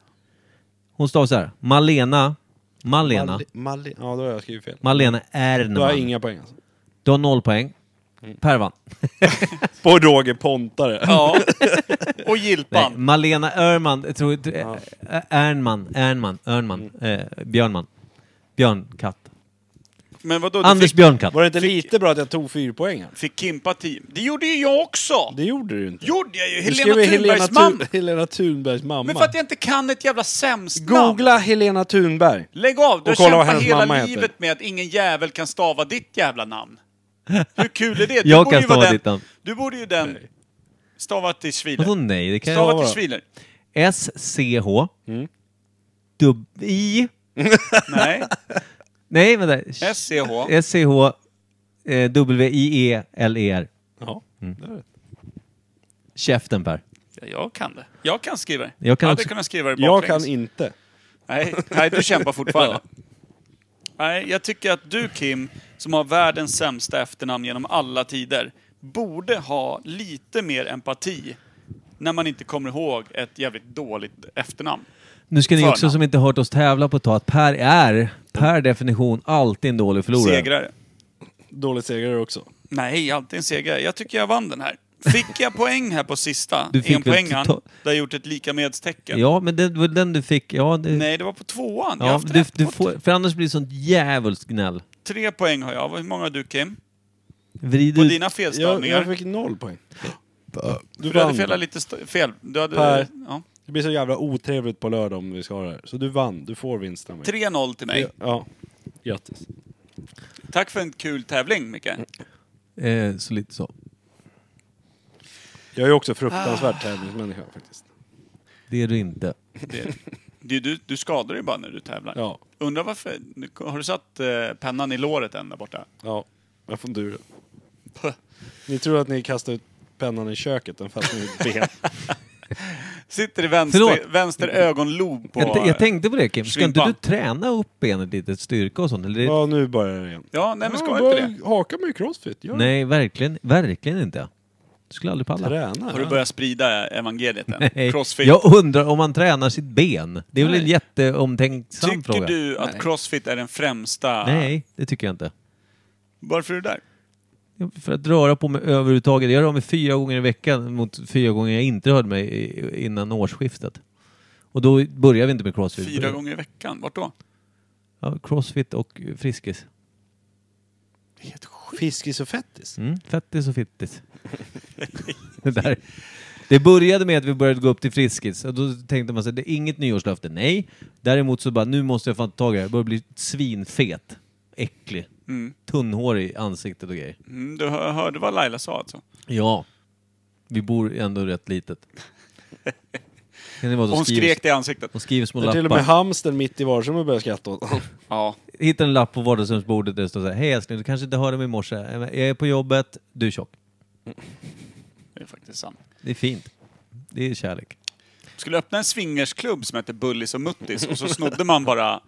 Speaker 5: Hon står så här. Malena. Malena.
Speaker 2: Marle- Marle- Ja, då har jag skrivit fel.
Speaker 5: Malena
Speaker 2: Då har jag
Speaker 5: Ernman.
Speaker 2: inga poäng alltså.
Speaker 5: Du har noll poäng. Pervan.
Speaker 2: På Roger Pontare.
Speaker 3: Ja. Och
Speaker 5: Nej,
Speaker 3: Gilpan.
Speaker 5: Malena Örman, jag tror inte... Ja. Ernman, Ernman, Örnman, eh, Björnman. Björnkatt.
Speaker 3: Men vadå, du
Speaker 5: Anders
Speaker 3: fick,
Speaker 5: Björnkatt.
Speaker 2: Var det inte lite bra att jag tog fyra poäng här?
Speaker 3: fick Kimpa team? Det gjorde ju jag också!
Speaker 2: Det gjorde du inte.
Speaker 3: gjorde jag ju!
Speaker 2: Du skrev
Speaker 3: Helena
Speaker 2: ju
Speaker 3: Thunbergs
Speaker 2: Thun-
Speaker 3: mamma!
Speaker 2: Helena Thunbergs mamma.
Speaker 3: Men för att jag inte kan ett jävla sämst namn!
Speaker 2: Googla Helena Thunberg.
Speaker 3: Lägg av! Du
Speaker 2: Och kolla vad
Speaker 3: kämpar
Speaker 2: hennes mamma
Speaker 3: hela
Speaker 2: heter.
Speaker 3: livet med att ingen jävel kan stava ditt jävla namn. Hur kul är det? Du
Speaker 5: Jag
Speaker 3: borde
Speaker 5: kan
Speaker 3: ju vara
Speaker 5: stava
Speaker 3: den-
Speaker 5: ditt namn.
Speaker 3: Du borde ju den... Stava till
Speaker 5: Vadå
Speaker 3: Schwiler.
Speaker 5: nej? Det kan jag
Speaker 3: Stava
Speaker 5: vara.
Speaker 3: till Schwiler.
Speaker 5: S-C-H. Dubb... I.
Speaker 3: Nej.
Speaker 5: Nej, vänta.
Speaker 3: S-C-H.
Speaker 5: S-C-H. eh, W-I-E-L-E-R.
Speaker 2: Ja.
Speaker 5: Käften Per.
Speaker 3: Ja, jag kan det. Jag kan skriva det.
Speaker 5: Jag kan
Speaker 3: hade
Speaker 5: också.
Speaker 3: kunnat skriva det
Speaker 2: Jag
Speaker 3: baklänges.
Speaker 2: kan inte.
Speaker 3: Nej, nej, du kämpar fortfarande. Nej, jag tycker att du Kim, som har världens sämsta efternamn genom alla tider, borde ha lite mer empati när man inte kommer ihåg ett jävligt dåligt efternamn.
Speaker 5: Nu ska ni
Speaker 3: Förnamn.
Speaker 5: också som inte hört oss tävla på ett tag att Per är per definition alltid en dålig förlorare.
Speaker 3: Segrare.
Speaker 2: Dålig segrare också.
Speaker 3: Nej, alltid en segrare. Jag tycker jag vann den här. Fick jag poäng här på sista,
Speaker 5: Du fick väl
Speaker 3: en poängan,
Speaker 5: ta-
Speaker 3: där jag gjort ett lika medstecken?
Speaker 5: Ja, men det var den du fick. Ja, det,
Speaker 3: Nej, det var på tvåan. jag har
Speaker 5: ja,
Speaker 3: haft
Speaker 5: du,
Speaker 3: rätt
Speaker 5: du
Speaker 3: på
Speaker 5: får, för annars blir det sånt djävulskt gnäll.
Speaker 3: Tre poäng har jag. Hur många har du Kim?
Speaker 5: Vrid
Speaker 3: På
Speaker 5: ut
Speaker 3: dina
Speaker 2: Jag,
Speaker 3: felstavningar?
Speaker 2: jag fick noll poäng. Du
Speaker 3: Du hade
Speaker 2: vann.
Speaker 3: felat lite st- fel. Du hade...
Speaker 2: Per.
Speaker 3: Ja.
Speaker 2: Det blir så jävla otrevligt på lördag om vi ska ha det här. Så du vann. Du får vinsten av mig.
Speaker 3: 3-0 till mig.
Speaker 2: Ja. Grattis.
Speaker 3: Tack för en kul tävling, Micke.
Speaker 5: Eh, så lite så.
Speaker 2: Jag är också
Speaker 3: Ah.
Speaker 2: fruktansvärt tävlingsmänniska faktiskt.
Speaker 5: Det är du inte.
Speaker 3: Det, det, du, du skadar dig bara när du tävlar.
Speaker 2: Ja.
Speaker 3: Undrar varför... Har du satt eh, pennan i låret än där borta?
Speaker 2: Ja. Jag får du det.
Speaker 3: Puh.
Speaker 2: Ni tror att ni kastar ut pennan i köket, den fastnar i ett ben.
Speaker 3: Sitter i vänster,
Speaker 5: Förlåt.
Speaker 3: vänster ögonlob på... eh,
Speaker 5: Jag, t- jag tänkte på det Kim, ska inte
Speaker 3: Svimpa.
Speaker 5: du träna upp benet lite, styrka och sånt? Eller?
Speaker 2: Ja, nu börjar den igen.
Speaker 3: Ja, nej men ska
Speaker 2: ja,
Speaker 3: inte
Speaker 2: bara
Speaker 3: det?
Speaker 2: Haka med crossfit. Gör
Speaker 5: Nej, verkligen, verkligen inte. Du skulle aldrig
Speaker 2: det.
Speaker 5: palla.
Speaker 2: Träna.
Speaker 3: Har du börjat sprida evangeliet än?
Speaker 5: Nej.
Speaker 3: Crossfit.
Speaker 5: Jag undrar om man tränar sitt ben. Det är väl en
Speaker 3: Nej.
Speaker 5: jätteomtänksam
Speaker 3: Tycker
Speaker 5: fråga?
Speaker 3: du att crossfit är den främsta...
Speaker 5: Nej, det tycker jag inte.
Speaker 3: Varför är du där?
Speaker 5: För att röra på mig överhuvudtaget. Jag rör mig fyra gånger i veckan mot fyra gånger jag inte rörde mig i- innan årsskiftet. Och då börjar vi inte med crossfit.
Speaker 3: Fyra gånger i veckan? Vart då?
Speaker 5: Ja, crossfit och friskis.
Speaker 1: Fiskis och fettis.
Speaker 5: Mm, fettis och fittis. det, där. det började med att vi började gå upp till Friskis. Och då tänkte man så här, det är inget nyårslöfte. Nej. Däremot så bara, nu måste jag fan ta tag i det här. Jag börjar bli svinfet. Äcklig. Tunnhårig i ansiktet och grejer.
Speaker 3: Mm, du hör- hörde vad Laila sa alltså?
Speaker 5: Ja. Vi bor ändå rätt litet. Kan det vara
Speaker 3: Hon skrek det i ansiktet.
Speaker 5: Hon skriver små
Speaker 1: När till och
Speaker 5: lappar.
Speaker 1: med hamstern mitt i vardagsrummet börjar skratta åt honom.
Speaker 3: Ja.
Speaker 5: Hittar en lapp på vardagsrumsbordet där det står så här, Hej älskling, du kanske inte hörde mig i morse. Jag är på jobbet, du är tjock.
Speaker 3: Det är faktiskt sant.
Speaker 5: Det är fint. Det är kärlek.
Speaker 3: skulle öppna en swingersklubb som hette Bullis och Muttis och så snodde man bara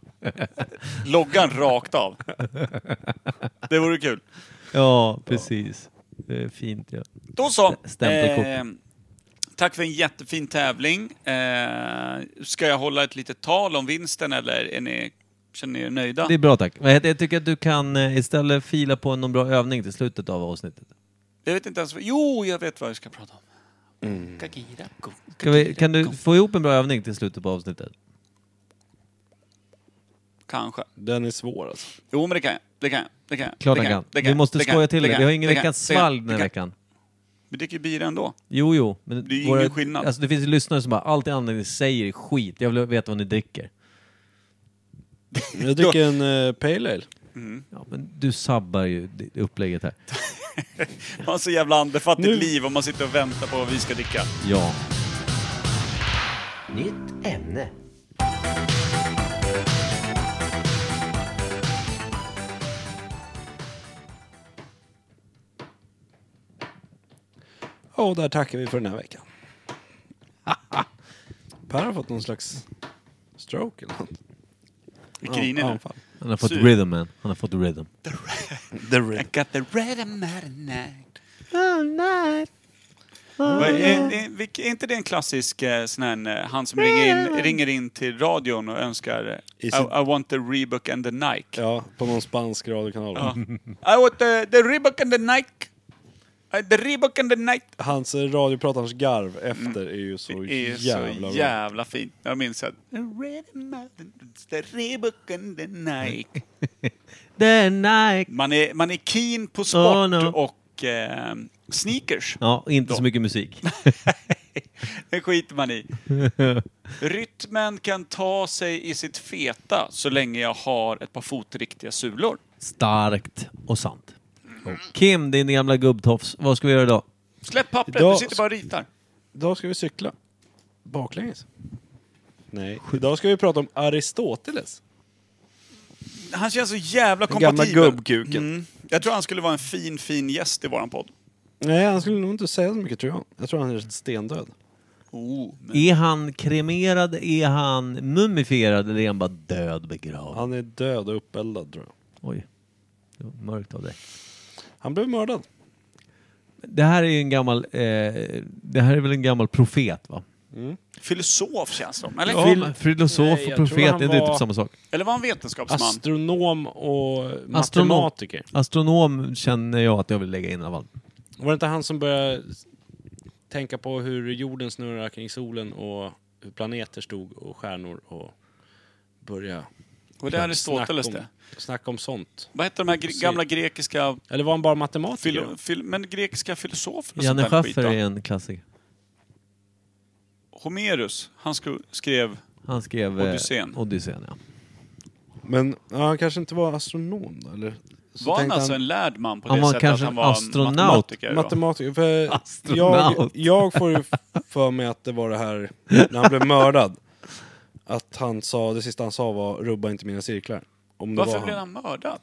Speaker 3: loggan rakt av. Det vore kul.
Speaker 5: Ja, precis. Det är fint ja.
Speaker 3: Då så. Eh,
Speaker 5: Stämpelkort.
Speaker 3: tack för en jättefin tävling. Eh, ska jag hålla ett litet tal om vinsten eller är ni, känner ni er nöjda?
Speaker 5: Det är bra tack. Men jag- Jag tycker att du kan eh, istället fila på någon bra övning till slutet av avsnittet.
Speaker 3: Jag vet inte ens vad... Jo, jag vet vad jag ska prata om. Kagira, go,
Speaker 5: Kan, Mm. vi,
Speaker 3: kagira,
Speaker 5: kan du
Speaker 3: go.
Speaker 5: få ihop en bra övning till slutet på avsnittet?
Speaker 3: Kanske.
Speaker 1: Den är svår alltså.
Speaker 3: Jo, men det kan jag. Det kan jag. Det kan jag.
Speaker 5: Klart
Speaker 3: det
Speaker 5: han
Speaker 3: kan jag,
Speaker 5: kan.
Speaker 3: det kan
Speaker 5: Du
Speaker 3: jag,
Speaker 5: måste
Speaker 3: det kan
Speaker 5: skoja
Speaker 3: jag,
Speaker 5: till
Speaker 3: det
Speaker 5: det.
Speaker 3: kan
Speaker 5: Vi har
Speaker 3: jag,
Speaker 5: ingen
Speaker 3: det kan jag,
Speaker 5: veckans
Speaker 3: det kan jag,
Speaker 5: svalg den
Speaker 3: det
Speaker 5: här
Speaker 3: kan jag.
Speaker 5: veckan.
Speaker 3: Vi dricker ju bira ändå.
Speaker 5: Jo, jo. Men
Speaker 3: Det är ju ingen skillnad.
Speaker 5: Alltså det finns ju lyssnare som bara, allt det andra ni säger är skit. Jag vill veta vad ni dricker.
Speaker 1: Jag dricker en eh, pale ale.
Speaker 5: Ja, men du sabbar ju det- det upplägget här.
Speaker 3: Man har så jävla andefattigt
Speaker 1: Nu-
Speaker 3: liv om man sitter och väntar på vad vi ska dricka.
Speaker 5: Ja.
Speaker 7: Nytt ämne.
Speaker 1: Ja, och där tackar vi för den här veckan. Per har fått någon slags stroke eller något.
Speaker 3: Vi griner
Speaker 1: Ja,
Speaker 3: nu.
Speaker 1: anfall.
Speaker 5: Han har fått
Speaker 3: Sur.
Speaker 5: rhythm man. Han har fått rhythm.
Speaker 1: The
Speaker 3: I
Speaker 1: red.
Speaker 3: got the red and mad night. Vad Är, är, är, vilk- är inte det en klassisk eh, sån här, eh, han som ringer in, ringer in till radion och önskar eh, I,
Speaker 1: Is it-
Speaker 3: I want the Reebok and the Nike.
Speaker 1: Ja, på någon spansk radiokanal.
Speaker 3: Ja. I want the, the Reebok and the Nike. Uh, the Reebok and the Nike.
Speaker 1: Hans eh, radiopratarens garv efter är ju så
Speaker 3: Mm. Det är
Speaker 1: jävla
Speaker 3: så
Speaker 1: bra.
Speaker 3: jävla fint. Jag minns att the red and mad night, the Reebok and the Nike.
Speaker 5: The night.
Speaker 3: Man är, man är keen på sport
Speaker 5: Oh, no.
Speaker 3: och eh, sneakers.
Speaker 5: Ja, inte så mycket musik.
Speaker 3: Det skiter man i. Rytmen kan ta sig i sitt feta så länge jag har ett par fotriktiga sulor.
Speaker 5: Starkt och sant. Kim, din gamla gubbtofs. Vad ska vi göra idag?
Speaker 3: Släpp pappret,
Speaker 1: Idag-
Speaker 3: du sitter bara och ritar.
Speaker 1: Idag ska vi cykla. Baklänges. Nej, idag ska vi prata om Aristoteles.
Speaker 3: Han känns så jävla
Speaker 1: Den gamla
Speaker 3: kompatibel.
Speaker 1: gubbkuken.
Speaker 3: Mm. Jag tror han skulle vara en fin, fin gäst i våran podd.
Speaker 1: Nej, han skulle nog inte säga så mycket tror jag. Jag tror han är rätt stendöd.
Speaker 3: Oh, men
Speaker 5: Är han kremerad? Är han mumifierad? Eller är han bara död begravd?
Speaker 1: Han är död och uppeldad tror jag.
Speaker 5: Oj. Det var mörkt av dig.
Speaker 1: Han blev mördad.
Speaker 5: Det här är ju en gammal... Eh, det här är väl en gammal profet, va?
Speaker 3: filosof känns de, eller?
Speaker 5: Fil- filosof
Speaker 1: Nej, jag
Speaker 5: och
Speaker 1: tror
Speaker 5: profet, är
Speaker 1: han
Speaker 5: det
Speaker 1: var-
Speaker 5: typ samma sak?
Speaker 3: Eller var han vetenskapsman?
Speaker 1: Astronom och
Speaker 5: Astronom.
Speaker 1: matematiker.
Speaker 5: Astronom känner jag att jag vill lägga in i alla fall.
Speaker 1: Var det inte han som började tänka på hur jorden snurrar kring solen och hur planeter stod och stjärnor och börja
Speaker 3: Och det är Aristoteles
Speaker 1: snacka
Speaker 3: det.
Speaker 1: om, snacka om sånt?
Speaker 3: Vad heter de här gre- gamla grekiska,
Speaker 1: Eller var han bara matematiker?
Speaker 3: filo- fil- men grekiska
Speaker 1: Alltså,
Speaker 3: filosofer och
Speaker 5: Janne
Speaker 3: sånt där skit
Speaker 5: Schaffer
Speaker 3: då?
Speaker 5: är en klassiker.
Speaker 3: Homerus, han sko- skrev...
Speaker 5: Han skrev... eh,
Speaker 3: Odysseen.
Speaker 5: Odysseen, ja.
Speaker 1: Men ja, han kanske inte var astronom då, eller? Så
Speaker 3: var han
Speaker 1: tänkte
Speaker 3: alltså en lärd man på
Speaker 5: Han
Speaker 3: det
Speaker 5: var
Speaker 3: sättet
Speaker 5: kanske
Speaker 3: att han
Speaker 5: en
Speaker 3: var
Speaker 5: astronaut.
Speaker 3: matematiker? va?
Speaker 1: Matematiker. För jag,
Speaker 5: Astronaut.
Speaker 1: jag får ju för mig att det var det här när han blev mördad. Att han sa, det sista han sa var rubba inte mina cirklar. Om det
Speaker 3: Varför
Speaker 1: var
Speaker 3: blev han mördad?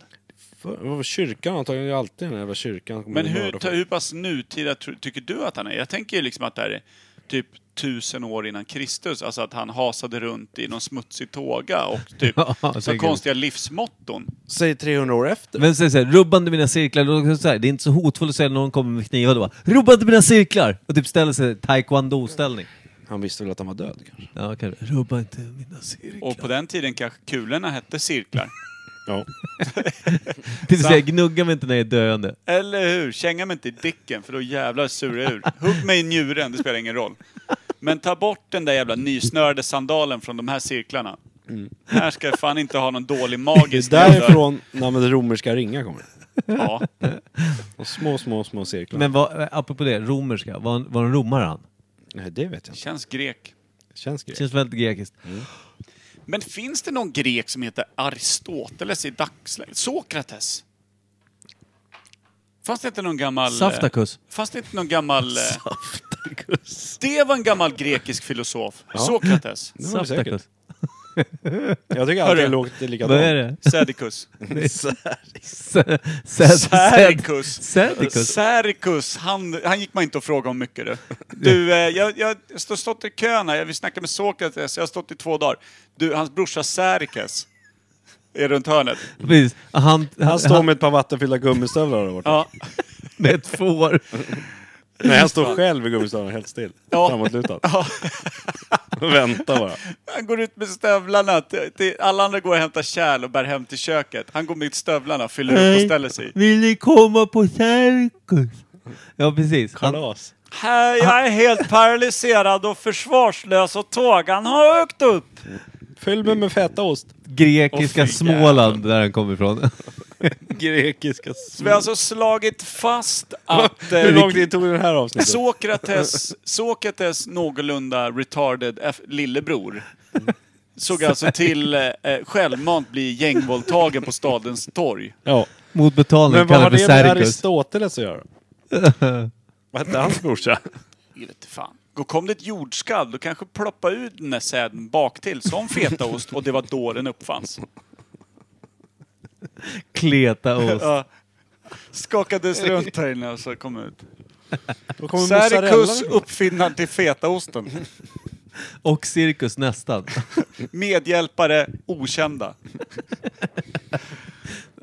Speaker 1: För, vad var kyrkan antagligen, det är alltid den här jävla kyrkan. som
Speaker 3: Men
Speaker 1: blir
Speaker 3: hur,
Speaker 1: mördad
Speaker 3: ta,
Speaker 1: för.
Speaker 3: hur pass nutida tr- tycker du att han är? Jag tänker ju liksom att det här är typ tusen år innan Kristus. Alltså att han hasade runt i någon smutsig tåga och typ
Speaker 5: Ja,
Speaker 3: så
Speaker 5: säkert.
Speaker 3: konstiga livsmotton.
Speaker 2: Säg 300 år efter.
Speaker 5: Men säg såhär, rubba inte mina cirklar. Då är det Så här, det är inte så hotfullt att säga när någon kommer med knivar. Då bara, rubba inte mina cirklar! Och typ ställer sig i taekwondo-ställning.
Speaker 2: Han visste väl att han var död kanske.
Speaker 5: Ja, kanske. Rubba inte mina cirklar.
Speaker 3: Och på den tiden kanske kulorna hette cirklar.
Speaker 1: Ja.
Speaker 5: det vill säga, gnugga mig inte när jag är döende.
Speaker 3: Eller hur? Känga mig inte i dicken för då jävlar surar jag ur. Hugg mig i njuren, det spelar ingen roll. Men ta bort den där jävla nysnörade sandalen från de här cirklarna. Här ska jag fan inte ha någon dålig magisk
Speaker 1: Därifrån namnet romerska ringar kommer.
Speaker 3: Ja.
Speaker 1: Och små, små, små cirklar.
Speaker 5: Men vad, apropå det, romerska. Var, han- var en romare han?
Speaker 1: Nej, det vet jag inte.
Speaker 3: Känns grek.
Speaker 1: Känns
Speaker 5: Det
Speaker 1: grek.
Speaker 5: känns väldigt grekiskt.
Speaker 3: Men finns det någon grek som heter Aristoteles i dagsläget? Sokrates? Fanns det inte någon gammal... eh,
Speaker 5: Saftakus.
Speaker 3: Fanns det inte någon gammal... Saftakus. Det var en gammal grekisk filosof. Sokrates.
Speaker 1: Det var det säkert.
Speaker 5: Saftakus.
Speaker 1: Jag tycker alltid det låter likadant.
Speaker 5: Vad är det?
Speaker 3: Sädikus.
Speaker 5: Sä- sä-
Speaker 3: Särikus.
Speaker 5: Sädikus.
Speaker 3: Särkus, han, han gick man inte att fråga om mycket du. Du, eh, jag, jag har stått i kön här, jag vill snacka med Sokrates, jag har stått i två dagar. Du, hans brorsa Särkes är runt hörnet.
Speaker 5: Precis. Han,
Speaker 1: Han står med ett par vattenfyllda gummistövlar där borta.
Speaker 3: Ja,
Speaker 5: med ett får.
Speaker 1: Nej, han står själv i gummistövlarna helt still.
Speaker 3: Ja.
Speaker 1: Framåtlutad. Och väntar bara.
Speaker 3: han går ut med stövlarna. Till, till, alla andra går och hämtar kärl och bär hem till köket. Han går med stövlarna, fyller upp och ställer sig.
Speaker 5: Vill ni komma på cirkus? Ja, precis. Han,
Speaker 1: Kalas.
Speaker 3: Här, jag är helt paralyserad och försvarslös och tågan har ökt upp.
Speaker 1: Fyll mig med fetaost.
Speaker 5: grekiska
Speaker 3: Åh, fy
Speaker 5: Småland, där han kommer ifrån.
Speaker 1: Grekiska
Speaker 3: Så vi har alltså slagit fast att... eh,
Speaker 1: Hur lång tid tog det här avsnittet?
Speaker 3: Sokrates, Sokrates någorlunda retarded F- lillebror såg alltså till eh, eh, självmant bli gängvåldtagen på stadens torg.
Speaker 1: Ja.
Speaker 5: Mot
Speaker 1: Men
Speaker 5: betalning
Speaker 1: vad har
Speaker 5: kallar
Speaker 1: det
Speaker 5: det
Speaker 1: med
Speaker 5: cirkus.
Speaker 1: Aristoteles att göra? Vad hette hans brorsa?
Speaker 3: Jag vet inte fan. Då kom det ett jordskall, då kanske ploppa ut den där säden baktill som fetaost och det var då den uppfanns.
Speaker 5: Kletaost.
Speaker 3: Ja. Skakades runt här inne och så kom ut.
Speaker 1: Då kommer
Speaker 3: Särkus,
Speaker 1: mozzarella.
Speaker 3: uppfinnaren till fetaosten.
Speaker 5: Och cirkus nästan.
Speaker 3: Medhjälpare, okända.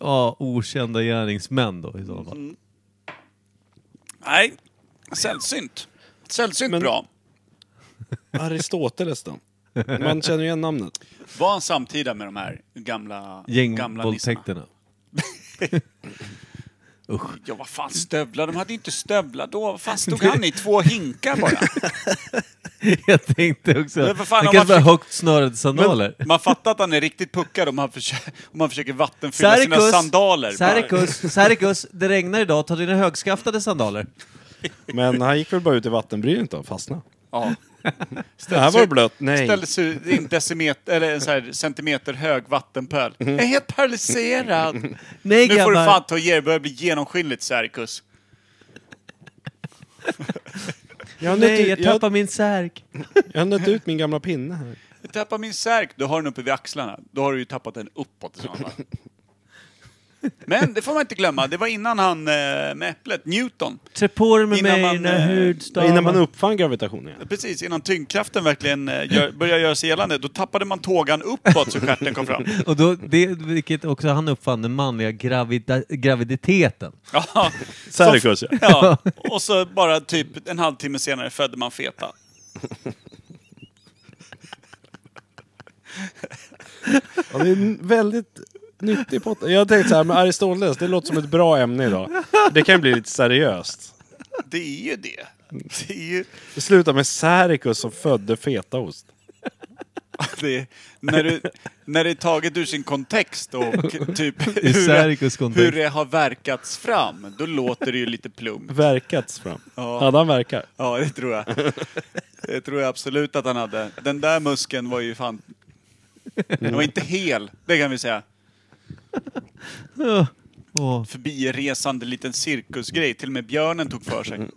Speaker 5: Ja, okända gärningsmän då i så fall.
Speaker 3: Nej, sällsynt. Sällsynt
Speaker 1: Men-
Speaker 3: bra.
Speaker 1: Aristoteles då? Man känner ju igen namnet.
Speaker 3: Var han samtida med de här gamla, Mm, gamla nissarna?
Speaker 5: Gängvåldtäkterna.
Speaker 3: Ja, vad fan stövlar? De hade ju inte stövlar då. Vad fan stod han i? Två hinkar bara.
Speaker 5: Jag tänkte också.
Speaker 3: Men för fan,
Speaker 5: det
Speaker 3: om
Speaker 5: kanske var
Speaker 3: man-
Speaker 5: högt snörade sandaler.
Speaker 3: Man fattar att han är riktigt puckad om han försöker, om han försöker vattenfylla sina sandaler.
Speaker 5: Särkus, Särkus, det regnar idag, ta dina högskaftade sandaler.
Speaker 1: Men han gick väl bara ut i vattenbrynet då, fastnade.
Speaker 3: Ja.
Speaker 1: Det här var blött. Nej.
Speaker 3: Ställde sig ut i en, decimeter, eller en så här centimeter hög vattenpöl.
Speaker 1: Mhm.
Speaker 3: Jag är helt paralyserad.
Speaker 5: Nej
Speaker 3: Nu får du
Speaker 5: grabbar,
Speaker 3: fan ta och ge dig. Det börjar bli genomskinligt, Särkus.
Speaker 1: Jag har nött
Speaker 5: nej jag
Speaker 1: ut- jag
Speaker 5: tappar min särk.
Speaker 1: jag har nött ut min gamla pinne här.
Speaker 3: Jag tappar min särk. Då har den uppe vid axlarna. Då har du ju tappat den uppåt i sådana fall. Men det får man inte glömma. Det var innan han eh, med äpplet, Newton.
Speaker 5: Trä på dig med
Speaker 3: Innan
Speaker 5: mig
Speaker 3: man,
Speaker 5: dina
Speaker 3: eh,
Speaker 5: hudstavar.
Speaker 1: Innan man uppfann gravitationen. ja.
Speaker 3: Precis, innan tyngdkraften verkligen eh, gör, började göra sig gällande. Då tappade man tågan uppåt så stjärten kom fram.
Speaker 5: Och då, det, vilket också han uppfann, den manliga gravida, graviditeten.
Speaker 3: Ja,
Speaker 1: Särkus, ja.
Speaker 3: ja. Och så bara typ en halvtimme senare födde man feta.
Speaker 1: Ja, det är en väldigt nyttig pott. Jag tänkte så här, men Aristoteles, det låter som ett bra ämne idag. Det kan ju bli lite seriöst.
Speaker 3: Det är ju det. Det är ju...
Speaker 1: Det slutar med Särkus som födde fetaost.
Speaker 3: Det är, när, du, när det är taget ur sin kontext och typ hur,
Speaker 5: Särkus
Speaker 3: det-
Speaker 5: kontext.
Speaker 3: hur det har verkats fram, då låter det ju lite plumpt.
Speaker 1: Verkats fram.
Speaker 3: Ja.
Speaker 1: Hade han verkar?
Speaker 3: Ja, det tror jag. Det tror jag absolut att han hade. Den där muskeln var ju fan... Den var inte hel, det kan vi säga.
Speaker 5: Åh,
Speaker 3: Förbiresande liten cirkusgrej. Till och med björnen tog för sig.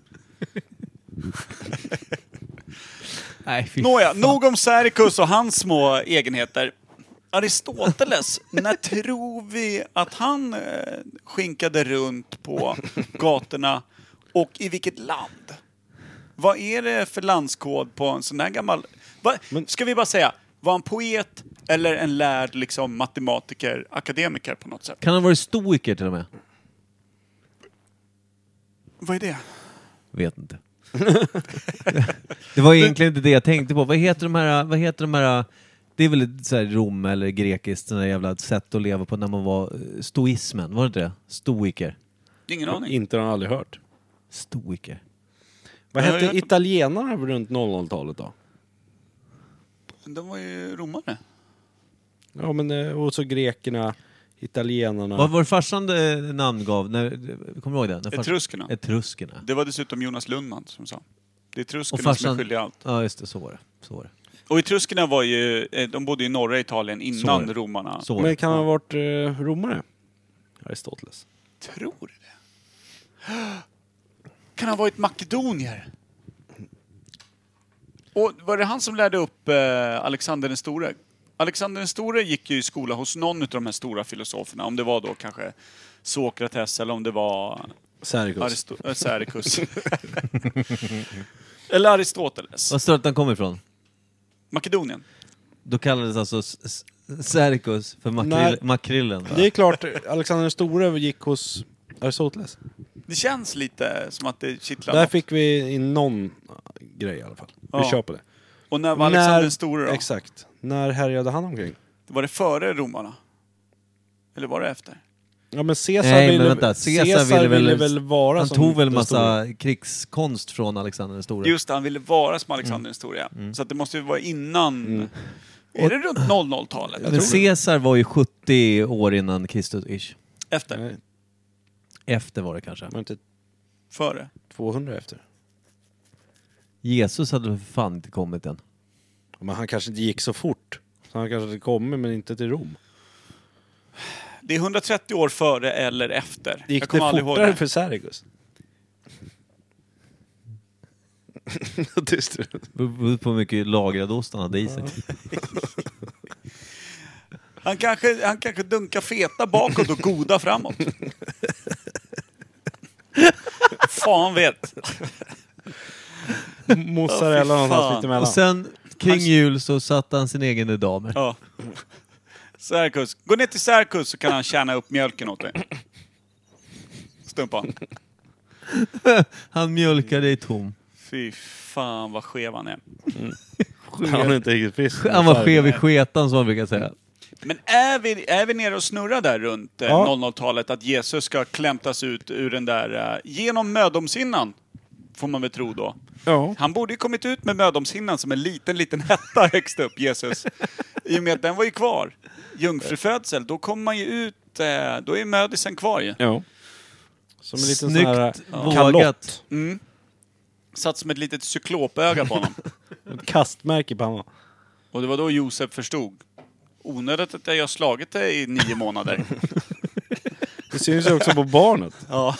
Speaker 5: nej, fy
Speaker 3: Nåja, nog om Särkus och hans små egenheter. Aristoteles, när tror vi att han eh, skinkade runt på gatorna och i vilket land? Vad är det för landskod på en sån här gammal... Va,
Speaker 1: Men-
Speaker 3: ska vi bara säga, var han poet eller en lärd liksom, matematiker, akademiker på något sätt?
Speaker 5: Kan han ha varit stoiker till och med?
Speaker 3: Vad är det?
Speaker 5: Vet inte. det var egentligen inte det jag tänkte på. Vad heter de här... Vad heter de här det är väl lite så här Rom eller grekiskt, sådana jävla sätt att leva på när man var eh, stoismen, var det inte det? Stoiker.
Speaker 3: Ingen aning.
Speaker 1: Inte har jag aldrig hört.
Speaker 5: Stoiker.
Speaker 1: Vad
Speaker 3: Ja, jag
Speaker 1: hette
Speaker 3: vet inte.
Speaker 1: italienarna runt 00-talet då?
Speaker 3: De var ju romare.
Speaker 1: Ja, men eh, och så grekerna, italienarna.
Speaker 5: Vad var farsan eh, namngav? När, kommer du ihåg det? När fars-
Speaker 3: Etruskerna.
Speaker 5: Etruskerna.
Speaker 3: Det var dessutom Jonas Lundman som sa. Det
Speaker 5: Och
Speaker 3: är etruskerna som är
Speaker 5: farsan...
Speaker 3: skyldiga allt.
Speaker 5: Ja, just det. Så var det. Så var det.
Speaker 3: Och etruskerna var ju, eh, de bodde i norra Italien
Speaker 5: Så.
Speaker 3: innan romarna.
Speaker 5: Så var
Speaker 1: men
Speaker 5: det.
Speaker 1: kan han ha varit eh, romare? Aristoteles.
Speaker 3: Tror du det? Kan han ha varit makedonier? Och var det han som lärde upp eh, Alexander den store? Alexander den store gick ju i skola hos någon av de här stora filosoferna. Om det var då kanske Sokrates eller om det var
Speaker 1: Sergius.
Speaker 3: Aristo- eh, Sericus. eller Aristoteles.
Speaker 5: Vad står det att han kommer ifrån?
Speaker 3: Makedonien.
Speaker 5: Då kallades alltså s- s- Serkos för makrill,
Speaker 1: Nej.
Speaker 5: makrillen. va?
Speaker 1: Det är klart, Alexander den store gick hos Aristoteles.
Speaker 3: Det känns lite som att det kittlar
Speaker 1: Där
Speaker 3: något.
Speaker 1: fick vi in någon grej i alla fall. Vi
Speaker 3: Ja.
Speaker 1: kör på det.
Speaker 3: Och när var Alexander den store då?
Speaker 1: Exakt. När härjade han omkring?
Speaker 3: Var det före romarna? Eller var det efter?
Speaker 1: Ja men Caesar
Speaker 5: Nej
Speaker 1: ville,
Speaker 5: men vänta, Caesar, ville, väl
Speaker 1: vara
Speaker 5: Han
Speaker 1: som
Speaker 5: tog väl
Speaker 1: den
Speaker 5: massa
Speaker 1: stora.
Speaker 5: krigskonst från Alexander den store.
Speaker 3: Just det, han ville vara som
Speaker 1: Mm.
Speaker 3: Alexander den store, ja. Så att det måste ju vara innan... Är det runt 00-talet?
Speaker 5: men Caesar var ju 70 år innan Kristus, ish.
Speaker 3: Efter?
Speaker 1: Nej,
Speaker 5: Efter var det kanske.
Speaker 1: var inte
Speaker 3: Före?
Speaker 1: 200 efter?
Speaker 5: Jesus hade väl för fan inte kommit än.
Speaker 1: Men han kanske inte gick så fort. Så han kanske hade kommit men inte till Rom.
Speaker 3: Det är 130 år före eller efter.
Speaker 1: Gick
Speaker 3: Jag
Speaker 1: det
Speaker 3: kommer aldrig ihåg
Speaker 1: fortare
Speaker 3: det.
Speaker 1: för Sergus? Tyst.
Speaker 5: Beror- Beror på hur mycket lagrad ost han hade i sig.
Speaker 3: Han kanske, han kanske dunkar feta bakåt och goda framåt. Fan vet. Ja, fy
Speaker 1: Mozzarella någonstans
Speaker 3: fan.
Speaker 1: mitt emellan.
Speaker 5: Och sen kring
Speaker 3: Han-
Speaker 5: jul så satte han sin egen i damer.
Speaker 3: Ja. Serkus. Gå ner till Serkus så kan han tjäna upp mjölken åt dig. Stumpan.
Speaker 5: Han mjölkade i tom.
Speaker 3: Fy fan vad skev han är.
Speaker 1: Han är inte riktigt frisk.
Speaker 5: Han var skev i sketan som man brukar säga.
Speaker 3: Men är vi, är vi nere och snurrar där runt eh,
Speaker 1: Ja.
Speaker 3: 00-talet att Jesus ska klämtas ut ur den där, eh, genom mödomshinnan? Får man väl tro då.
Speaker 1: Ja.
Speaker 3: Han borde ju kommit ut med mödomshinnan som en liten, liten hetta högst upp, Jesus. I och med att den var ju kvar. Jungfrufödsel, då kommer man ju ut, eh, då är mödisen kvar ju.
Speaker 1: ja. Som en liten
Speaker 5: Snyggt
Speaker 1: sån här eh,
Speaker 5: vågat.
Speaker 1: kalott.
Speaker 3: Satt som ett litet cyklopöga på honom.
Speaker 1: Ett kastmärke på honom.
Speaker 3: Och det var då Josef förstod. Onödigt att jag har slagit dig i nio månader.
Speaker 1: Det syns ju också på barnet.
Speaker 3: ja.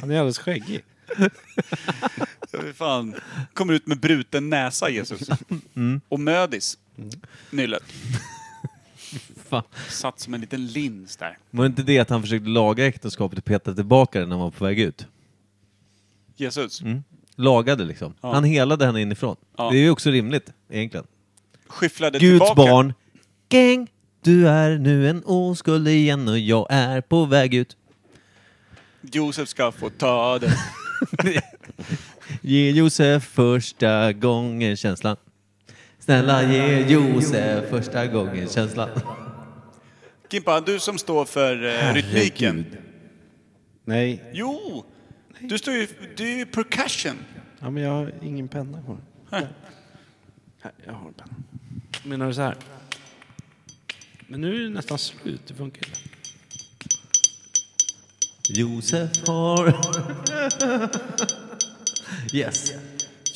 Speaker 1: Han är alldeles skäggig.
Speaker 3: Fy fan. Kommer ut med bruten näsa, Jesus.
Speaker 5: Mm.
Speaker 3: Och mödis. Nyllet.
Speaker 5: Fan.
Speaker 3: Satt som en liten lins där.
Speaker 5: Var det inte det att han försökte laga äktenskapet och peta tillbaka den när han var på väg ut?
Speaker 3: Jesus.
Speaker 5: Mm. Lagade liksom.
Speaker 3: Ja.
Speaker 5: Han helade henne inifrån.
Speaker 3: Ja.
Speaker 5: Det är ju också rimligt, egentligen.
Speaker 3: Skyfflade
Speaker 5: Guds
Speaker 3: tillbaka.
Speaker 5: barn, gäng, du är nu en oskuld igen och jag är på väg ut.
Speaker 3: Josef ska få ta den.
Speaker 5: Ge Josef första gången känslan. Snälla ge Josef första gången känslan.
Speaker 3: Kimpa, du som står för eh, rytmiken.
Speaker 1: Nej.
Speaker 3: Jo! Du står ju... Du är ju percussion.
Speaker 1: Ja, men jag har ingen penna kvar. Här, jag har en penna. Menar du så här? Men nu är det nästan slut. Det funkar inte.
Speaker 5: Josef har... Yes.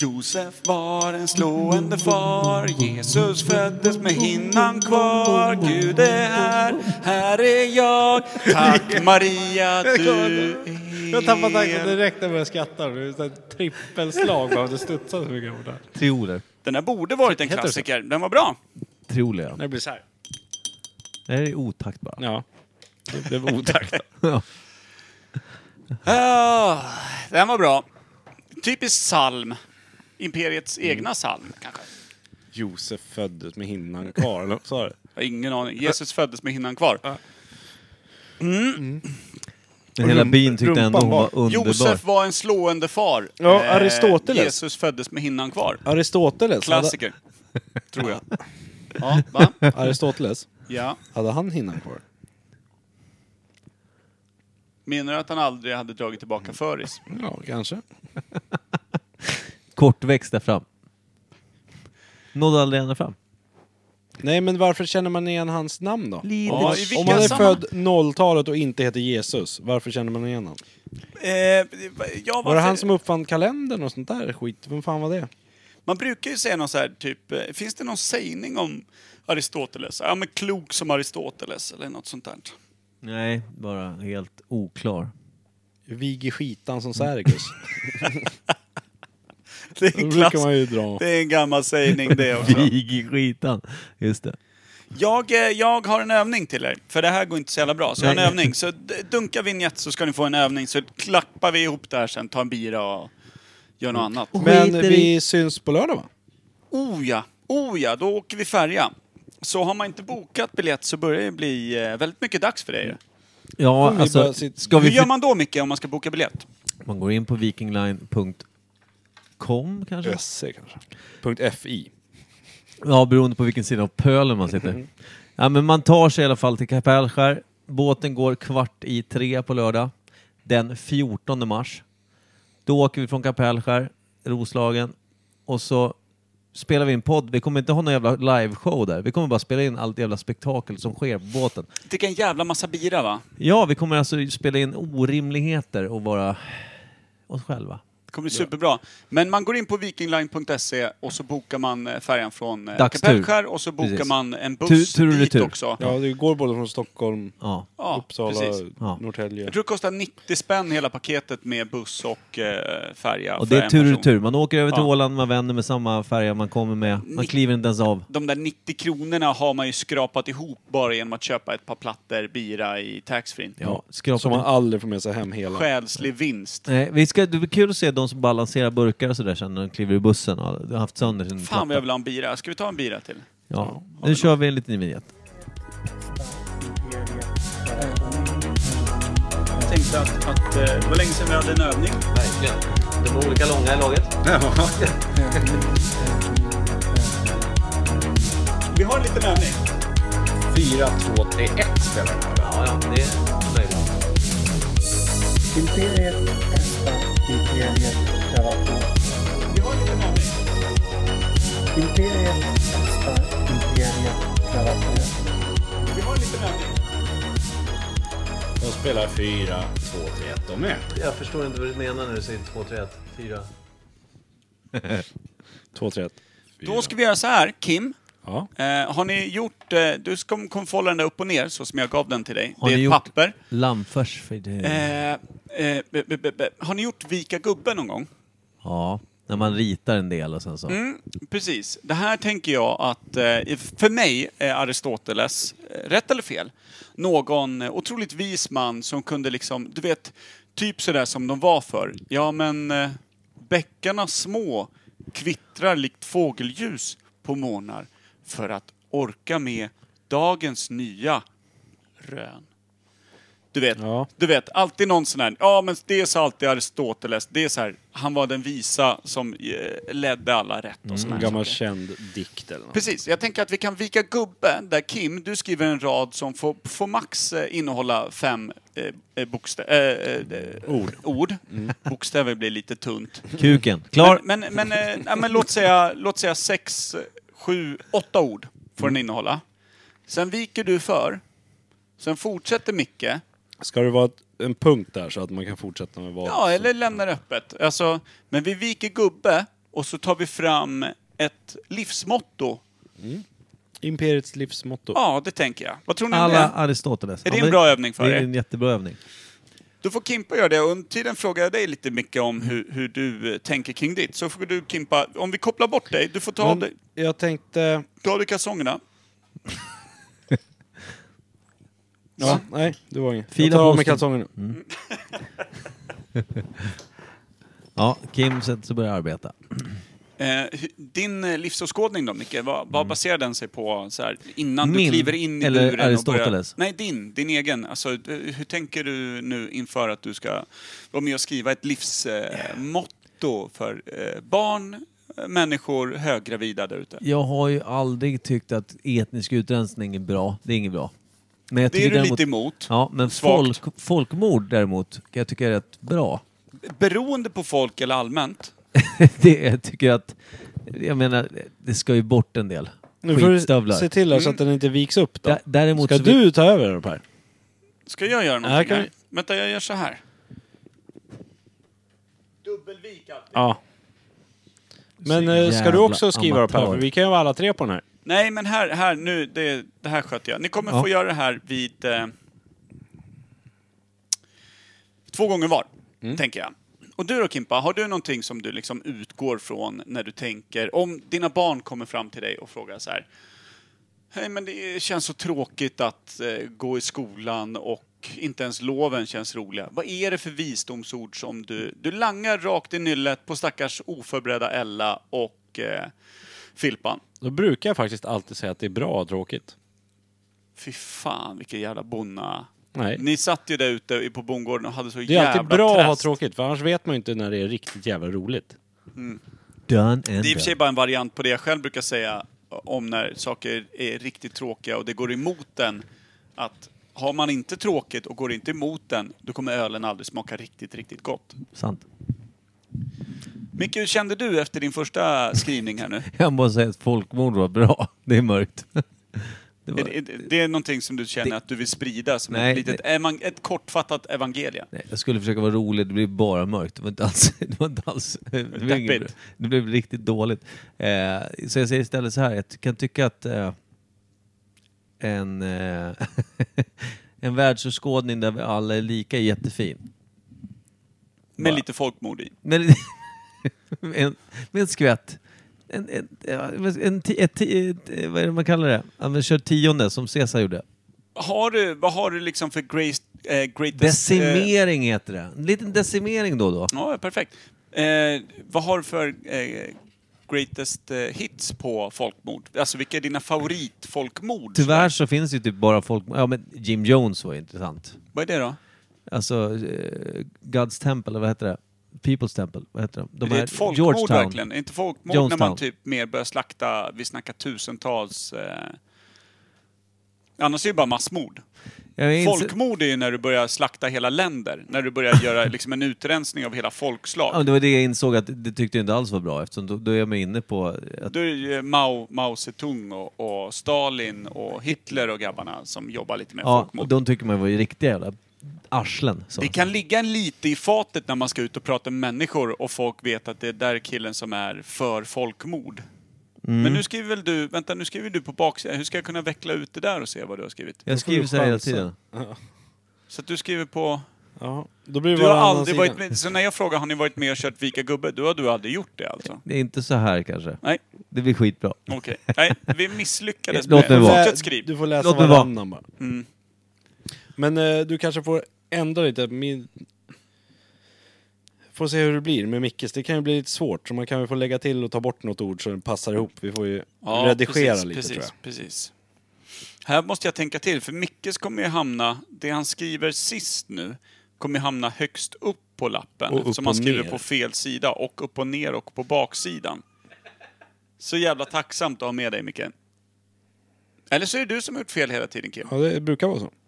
Speaker 3: Josef var en slående far Jesus föddes med hinnan kvar Gud är här, här är jag Tack Maria, du är
Speaker 1: Jag tappade tanken direkt när jag började skratta. Det är ett trippelslag bara. Det studsade så mycket ord där.
Speaker 5: Trioler.
Speaker 3: Den här borde varit en
Speaker 1: Heter det så?
Speaker 3: klassiker. Den var bra.
Speaker 5: Trioler, ja.
Speaker 1: Det blir så här.
Speaker 5: Det här är otakt bara.
Speaker 1: Ja. Det blev otakt.
Speaker 3: Ah, den var bra. Typisk psalm. Imperiets egna psalm, kanske?
Speaker 1: Josef föddes med hinnan kvar, eller vad sa du?
Speaker 3: Jag har ingen aning. Jesus föddes med hinnan kvar.
Speaker 5: Men hela byn tyckte
Speaker 2: rumpan
Speaker 5: ändå hon var underbar.
Speaker 3: Josef var en slående far.
Speaker 1: Ja,
Speaker 3: Eh,
Speaker 1: Aristoteles.
Speaker 3: Jesus föddes med hinnan kvar.
Speaker 1: Aristoteles?
Speaker 3: Klassiker. Tror jag. Ja, va?
Speaker 1: Hade, Aristoteles?
Speaker 3: Ja.
Speaker 1: Hade han hinnan kvar?
Speaker 3: Menar du att han aldrig hade dragit tillbaka föris?
Speaker 1: Ja, kanske.
Speaker 5: Kortväxt där fram. Nådde aldrig ända fram.
Speaker 1: Nej, men varför känner man igen hans namn då?
Speaker 3: Ja, i vilka
Speaker 1: Om han är
Speaker 3: sammanhang?
Speaker 1: född 0-talet och inte heter Jesus, varför känner man igen honom?
Speaker 3: Eh, ja,
Speaker 1: Var det
Speaker 3: varför-
Speaker 1: han som uppfann kalendern och sånt där skit? Vem fan var det?
Speaker 3: Man brukar ju säga någon så här typ, eh, finns det någon sägning om Aristoteles? Ja men klok som Aristoteles eller något sånt där.
Speaker 5: Nej, bara helt oklar.
Speaker 1: Vig i skitan som Sergus.
Speaker 3: Det är
Speaker 1: Då
Speaker 3: en,
Speaker 1: brukar
Speaker 3: klass,
Speaker 1: man ju dra.
Speaker 3: det är en gammal sägning det också.
Speaker 5: Vig i skitan. Just det.
Speaker 3: Jag, eh, jag har en övning till er, för det här går inte så jävla bra. Så jag har en
Speaker 5: Nej.
Speaker 3: övning. Så d- dunka vignett så ska ni få en övning så klappar vi ihop det här sen, tar en bira och gör något annat.
Speaker 1: Men
Speaker 5: Skiter i-
Speaker 1: vi syns på lördag va?
Speaker 3: Oh ja, oh ja, då åker vi färja. Så har man inte bokat biljett så börjar det bli eh, väldigt mycket dags för dig.
Speaker 5: Ja,
Speaker 1: vi bara
Speaker 5: alltså,
Speaker 1: sitter-
Speaker 5: ska
Speaker 3: Hur
Speaker 5: vi...
Speaker 3: gör
Speaker 5: För...
Speaker 3: man då Micke om man ska boka biljett?
Speaker 5: Man går in på vikingline.com kanske?
Speaker 1: SE kanske. Punkt FI.
Speaker 5: Ja, beroende på vilken sida av pölen man sitter. Ja, men man tar sig i alla fall till Kapellskär. Båten går kvart i tre på lördag den 14 mars. Då åker vi från Kapellskär, Roslagen, och så spelar vi in podd. Vi kommer inte ha någon jävla liveshow där. Vi kommer bara spela in allt jävla spektakel som sker på båten.
Speaker 3: Dricka en jävla massa bira va?
Speaker 5: Ja, vi kommer alltså spela in orimligheter och vara oss själva.
Speaker 3: Det kommer bli superbra. Men man går in på vikingline.se och så bokar man eh, färjan från eh,
Speaker 5: Dagstur.
Speaker 3: Kapellskär och så bokar
Speaker 5: Precis.
Speaker 3: man en buss
Speaker 5: Tur- tur och
Speaker 3: dit
Speaker 5: retur.
Speaker 3: också.
Speaker 1: Ja, det går både från Stockholm,
Speaker 5: Ja.
Speaker 3: Ja,
Speaker 1: Uppsala,
Speaker 3: precis.
Speaker 5: Ja.
Speaker 1: Norrtälje.
Speaker 3: Jag tror det kostar 90 spänn hela paketet med buss och eh, färja.
Speaker 5: Och
Speaker 3: för
Speaker 5: det är
Speaker 3: en
Speaker 5: tur
Speaker 3: person.
Speaker 5: och tur. Man åker över till
Speaker 3: Ja.
Speaker 5: Åland, man vänder med samma färja man kommer med. Man
Speaker 3: Ni-
Speaker 5: kliver inte ens av.
Speaker 3: De där 90 kronorna har man ju skrapat ihop bara genom att köpa ett par plattor bira i taxfree.
Speaker 5: Ja, skrapa
Speaker 1: Som man aldrig får med sig hem hela.
Speaker 3: Själslig vinst.
Speaker 5: Nej, vi ska, det blir kul att se de som balanserar burkar och sådär sen när de kliver i bussen och har haft sönder sin
Speaker 3: Fan vad
Speaker 5: platta.
Speaker 3: jag vill ha en bira. Ska vi ta en bira till?
Speaker 5: Ja, nu kör vi en liten vignett.
Speaker 3: Jag tänkte att, att eh, det var länge sedan vi hade en övning.
Speaker 5: Verkligen. De är olika långa i laget.
Speaker 3: Vi har en liten övning.
Speaker 5: Ja, ja, det är möjligt.
Speaker 4: Imperiet hästar, Imperiet Terraform.
Speaker 3: Vi har en liten övning.
Speaker 4: Imperiet hästar, Imperiet Terraform.
Speaker 3: Vi har en liten övning.
Speaker 2: De spelar 4, 2, 3, 1. De med.
Speaker 5: Jag förstår inte vad du menar när du säger 2, 3, 1, 4.
Speaker 1: 2, 3, 1.
Speaker 3: Då ska vi göra så här, Kim.
Speaker 1: Ja.
Speaker 3: Eh, har ni gjort... Eh, du ska, kommer få hålla den där upp och ner, så som jag gav den till dig.
Speaker 5: Har
Speaker 3: det är
Speaker 5: ni
Speaker 3: ett
Speaker 5: gjort-
Speaker 3: papper.
Speaker 5: Lammfärs för det.
Speaker 3: Eh, eh, be, be, be, be. Har ni gjort Vika gubben någon gång?
Speaker 5: Ja, när man ritar en del och sen så.
Speaker 3: Mm, precis. Det här tänker jag att... Eh, i- för mig är Aristoteles, eh, rätt eller fel, någon eh, otroligt vis man som kunde liksom... Du vet, typ sådär som de var för. Ja, men eh, bäckarna små kvittrar likt fågelljus på morgnar för att orka med dagens nya rön. Du vet,
Speaker 1: Ja.
Speaker 3: du vet, alltid någon sån här, ja men det sa alltid Aristoteles, det är så här, han var den visa som eh, ledde alla rätt och såna
Speaker 1: En
Speaker 3: här
Speaker 1: Mm, gammal
Speaker 3: saker.
Speaker 1: känd dikt eller något.
Speaker 3: Precis, jag tänker att vi kan vika gubbe, där Kim, du skriver en rad som får, får max eh, innehålla fem eh, eh, bokstä- eh, eh,
Speaker 1: Ord. Mm.
Speaker 3: ord. Bokstäver blir lite tunt.
Speaker 5: Kuken, klar!
Speaker 3: Men, men, men, eh, ja, men låt, säga, låt säga sex, eh, sju, åtta ord får
Speaker 1: Mm.
Speaker 3: den innehålla. Sen viker du för. Sen fortsätter Micke.
Speaker 1: Ska det vara ett, en punkt där så att man kan fortsätta med vad?
Speaker 3: Ja, eller lämnar det öppet. Alltså, men vi viker gubbe och så tar vi fram ett livsmotto.
Speaker 1: Imperiets livsmotto.
Speaker 3: Ja, det tänker jag. Vad tror ni om
Speaker 5: Alla
Speaker 3: det?
Speaker 5: Aristoteles.
Speaker 3: Är det
Speaker 5: Ja,
Speaker 3: en
Speaker 5: men-
Speaker 3: bra övning för
Speaker 5: Det
Speaker 3: er?
Speaker 5: är en jättebra övning.
Speaker 3: Då får Kimpa göra det. Och Under tiden frågar jag dig lite mycket om hur, hur du eh, tänker kring ditt. Så får du Kimpa, om vi kopplar bort dig, du får ta av
Speaker 1: Men
Speaker 3: dig,
Speaker 1: jag tänkte...
Speaker 3: ta av dig kalsongerna.
Speaker 1: Ja, nej, det var inget.
Speaker 5: Fila
Speaker 1: jag tar av
Speaker 5: på Mm.
Speaker 1: mig
Speaker 5: osten.
Speaker 1: kalsongerna.
Speaker 5: Ja, Kim sätter sig och börjar arbeta.
Speaker 3: Eh, Eh, hu- din eh, livsåskådning då, Micke, vad, vad baserar den sig på? Så här, innan
Speaker 5: Mm. Min
Speaker 3: du kliver in i
Speaker 5: eller
Speaker 3: buren och börjar...
Speaker 5: Aristoteles?
Speaker 3: Nej, din. Din egen. Alltså, eh, hur tänker du nu inför att du ska vara med och skriva ett livsmotto för eh, barn, eh, människor, höggravida där ute?
Speaker 5: Jag har ju aldrig tyckt att etnisk utrensning är bra. Det är inget bra. Men jag
Speaker 3: Det är
Speaker 5: tycker
Speaker 3: du
Speaker 5: däremot-
Speaker 3: lite emot.
Speaker 5: Ja, men
Speaker 3: Svagt.
Speaker 5: folk, folkmord däremot kan jag tycka är rätt bra.
Speaker 3: Beroende på folk eller allmänt?
Speaker 5: det, jag tycker att... Jag menar, det ska ju bort en del
Speaker 1: Nu får du
Speaker 5: skitstövlar.
Speaker 1: se till här så
Speaker 3: Mm.
Speaker 1: att den inte viks upp då.
Speaker 5: Dä- däremot
Speaker 1: Ska
Speaker 5: så vill-
Speaker 1: du ta över den Per?
Speaker 3: Ska jag göra
Speaker 1: Här
Speaker 3: någonting
Speaker 1: kan
Speaker 3: här?
Speaker 1: vi-
Speaker 3: Vänta, jag gör så här.
Speaker 1: Ja. Men eh, ska du
Speaker 5: jävla
Speaker 1: också skriva då Per?
Speaker 5: amatör.
Speaker 1: För vi kan ju vara alla tre på den här.
Speaker 3: Nej, men här, här nu, det, det här sköter jag. Ni kommer
Speaker 5: Ja.
Speaker 3: få göra det här vid... Eh, två gånger var, tänker jag. Och du då Kimpa, har du någonting som du liksom utgår från när du tänker, om dina barn kommer fram till dig och frågar så här. Hej, men det känns så tråkigt att eh, gå i skolan och inte ens loven känns roliga. Vad är det för visdomsord som du... Du langar rakt i nyllet på stackars oförberedda Ella och eh, Filpan.
Speaker 1: Då brukar jag faktiskt alltid säga att det är bra och tråkigt.
Speaker 3: Fy fan vilken jävla bonna.
Speaker 1: Nej.
Speaker 3: Ni satt ju där ute i- på bondgården och hade så
Speaker 1: Det är
Speaker 3: jävla
Speaker 1: alltid bra att ha
Speaker 3: träst.
Speaker 1: tråkigt, för annars vet man ju inte när det är riktigt jävla roligt.
Speaker 5: Done and
Speaker 3: Det är i och för sig
Speaker 5: done.
Speaker 3: bara en variant på det jag själv brukar säga om när saker är riktigt tråkiga och det går emot den. Att har man inte tråkigt och går inte emot den, då kommer ölen aldrig smaka riktigt, riktigt gott.
Speaker 5: Sant.
Speaker 3: Micke, hur kände du efter din första skrivning här nu?
Speaker 5: Jag måste säga att folkmord var bra. Det är mörkt. Det var...
Speaker 3: Är det- är det- Det är någonting som du känner att du vill sprida som
Speaker 5: Nej,
Speaker 3: ett, litet evan- ett kortfattat evangelium.
Speaker 5: Nej, jag skulle försöka vara rolig, det blev bara mörkt. Det var inte alls... Det, var inte alls, det, blev, inget bra.
Speaker 3: Deppigt.
Speaker 5: det blev riktigt dåligt. Eh, så jag säger istället så här, jag ty- kan tycka att eh, en, eh, en världsåskådning där vi alla är lika är jättefin.
Speaker 3: Med lite folkmord i.
Speaker 5: Men, en, med en skvätt. En, en, ja, en, ti- ett, ti- ett, vad är det man kallar det? Ja, men kör tionde som Caesar gjorde.
Speaker 3: Har du, vad har du liksom för greatest... Eh, greatest eh,
Speaker 5: Decimering heter det. En liten decimering då och då.
Speaker 3: Ja, perfekt. Eh, vad har du för eh, greatest eh, hits på folkmord? Alltså vilka är dina favoritfolkmord?
Speaker 5: Tyvärr så finns det ju typ bara folk... Ja men Jim Jones var ju intressant.
Speaker 3: Vad är det då?
Speaker 5: Alltså eh, God's Temple, eller vad heter det? People's Temple, vad heter det? De
Speaker 3: är det
Speaker 5: här-
Speaker 3: ett folkmord verkligen? Är inte folkmord när
Speaker 5: Jonestown.
Speaker 3: man typ mer börjar slakta, vi snackar tusentals... Eh, annars är det ju bara massmord.
Speaker 5: Jag är inte-
Speaker 3: Folkmord är ju när du börjar slakta hela länder. När du börjar göra liksom en utrensning av hela folkslag.
Speaker 5: Ja, det var det jag insåg att det tyckte jag inte alls var bra eftersom då, då är jag med inne på... Att,
Speaker 3: Då är det ju Mao, Mao Zedong och, och Stalin och Hitler och grabbarna som jobbar lite med
Speaker 5: ja,
Speaker 3: folkmord.
Speaker 5: de tycker man var ju riktiga jävla arslen. Så.
Speaker 3: Det kan ligga en lite i fatet när man ska ut och prata med människor och folk vet att det är där killen som är för folkmord.
Speaker 5: Mm.
Speaker 3: Men nu skriver väl du, vänta nu skriver du på baksidan, hur ska jag kunna veckla ut det där och se vad du har skrivit?
Speaker 5: Jag
Speaker 1: Då får
Speaker 5: skriver
Speaker 1: du
Speaker 5: så här hela
Speaker 1: chansa.
Speaker 5: tiden.
Speaker 3: Så att du skriver på...
Speaker 1: Ja. Då blir det
Speaker 3: Du har
Speaker 1: bara en annan
Speaker 3: aldrig
Speaker 1: sida.
Speaker 3: varit med, så när jag frågar har ni varit med och kört Vika gubbe, då har du aldrig gjort det alltså?
Speaker 5: Det är inte så här kanske.
Speaker 3: Nej,
Speaker 5: Det blir skitbra.
Speaker 3: okej. Nej, vi misslyckades
Speaker 5: Låt mig
Speaker 3: med
Speaker 5: vara.
Speaker 3: Fortsätt
Speaker 1: Du
Speaker 3: skriv. Mm.
Speaker 1: får läsa
Speaker 5: Låt mig vara.
Speaker 1: varannan bara. Men eh, du kanske får ändra lite. Min... Får se hur det blir med Mickes. Det kan ju bli lite svårt. Så man kan ju få lägga till och ta bort något ord så det passar ihop. Vi får ju
Speaker 3: Ja,
Speaker 1: redigera
Speaker 3: precis,
Speaker 1: lite
Speaker 3: precis,
Speaker 1: tror jag.
Speaker 3: Precis. Här måste jag tänka till, för Mickes kommer ju hamna, det han skriver sist nu, kommer ju hamna högst upp på lappen.
Speaker 1: Och upp
Speaker 3: som han
Speaker 1: och
Speaker 3: skriver
Speaker 1: ner.
Speaker 3: på fel sida, och upp och ner och på baksidan. Så jävla tacksamt att ha med dig Micke. Eller så är det du som har gjort fel hela tiden Kim.
Speaker 1: Ja, det brukar vara så.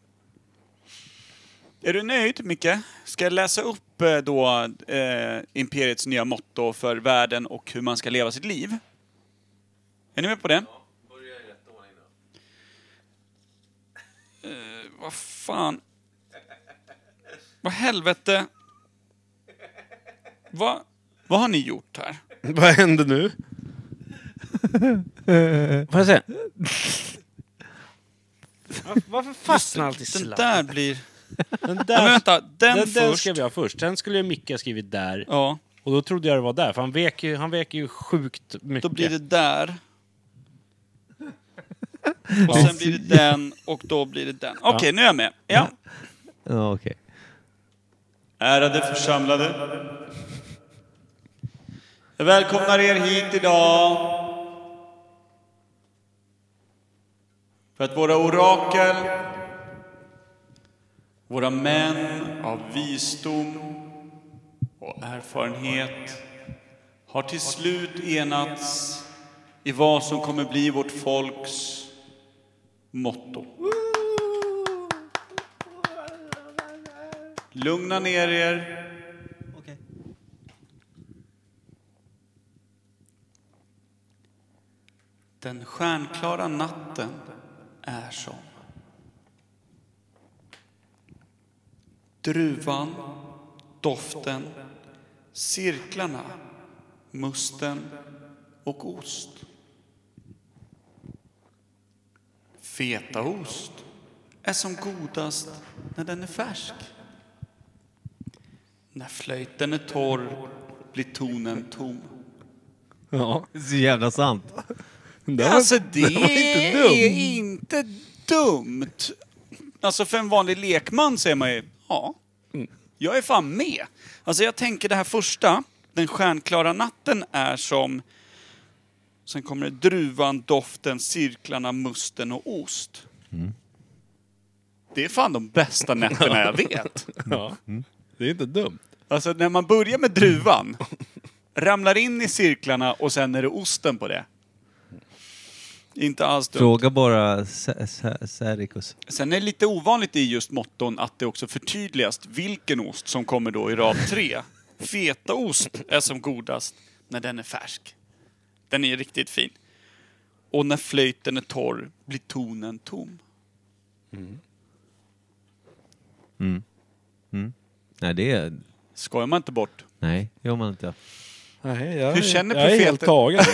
Speaker 3: Är du nöjd Micke? Ska jag läsa upp eh, då eh, Imperiets nya motto för världen och hur man ska leva sitt liv? Är ni med på det? Eh, vad fan? Vad helvete? Vad, vad har ni gjort här?
Speaker 1: Vad händer nu? Får jag se? Varför fastnar alltid
Speaker 3: Den där blir...
Speaker 1: Den
Speaker 3: Ja, men
Speaker 1: där,
Speaker 3: vänta, den,
Speaker 1: den, den
Speaker 3: först.
Speaker 1: skrev jag först. Sen skulle ju Micke ha skrivit där.
Speaker 3: Ja,
Speaker 1: Och då trodde jag det var där, för han vek ju, han vek ju sjukt mycket.
Speaker 3: då blir det där. Och sen blir det den och då blir det den. Okej, nu är jag med. Ja.
Speaker 5: Ja, okej.
Speaker 3: Ärade församlade. Jag välkomnar er hit idag. För att våra orakel, våra män av visdom och erfarenhet har till slut enats i vad som kommer bli vårt folks motto. Lugna ner er. Den stjärnklara natten är som druvan, doften, cirklarna, musten och ost. Fetaost är som godast när den är färsk. När flöjten är torr blir tonen tom.
Speaker 1: Ja,
Speaker 5: Så jävla sant.
Speaker 1: det var,
Speaker 3: alltså det,
Speaker 1: det var inte dumt.
Speaker 3: är inte dumt. Alltså för en vanlig lekman säger man ju, ja,
Speaker 1: Mm.
Speaker 3: jag är fan med. Alltså jag tänker det här första, den stjärnklara natten är som, sen kommer det druvan, doften, cirklarna, musten och ost.
Speaker 1: Mm.
Speaker 3: Det är fan de bästa nätterna jag vet.
Speaker 1: Ja. Det är inte dumt.
Speaker 3: Alltså när man börjar med druvan, ramlar in i cirklarna och sen är det osten på det. Inte alls dumt.
Speaker 5: Fråga bara Sa- Sa- Sarikus.
Speaker 3: Sen är det lite ovanligt i just motton att det också förtydligas vilken ost som kommer då i rad tre. Fetaost är som godast när den är färsk. Den är riktigt fin. Och när flöjten är torr blir tonen tom.
Speaker 5: Nej, det är...
Speaker 3: Skojar man inte bort.
Speaker 5: Nej, det gör man inte.
Speaker 1: Nej, jag,
Speaker 3: Hur känner
Speaker 1: jag är helt
Speaker 3: profeten?
Speaker 1: tagen.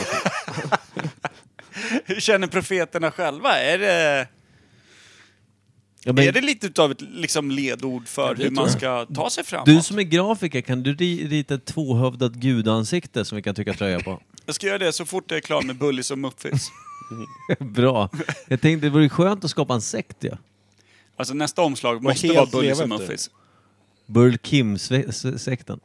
Speaker 3: Hur känner profeterna själva? Är det,
Speaker 5: Ja, men
Speaker 3: är det lite utav ett liksom, ledord för hur man ska ta sig framåt?
Speaker 5: Du som är grafiker, kan du ri- rita ett tvåhövdat gudansikte som vi kan trycka tröja på?
Speaker 3: Jag ska göra det så fort jag är klar med Bullis och Muffis.
Speaker 5: Bra. Jag tänkte det vore skönt att skapa en sekt ja.
Speaker 3: Alltså nästa omslag måste
Speaker 1: helt
Speaker 3: vara Bullis och
Speaker 1: leva efter.
Speaker 3: Muffis.
Speaker 5: Burl Kim-sekten.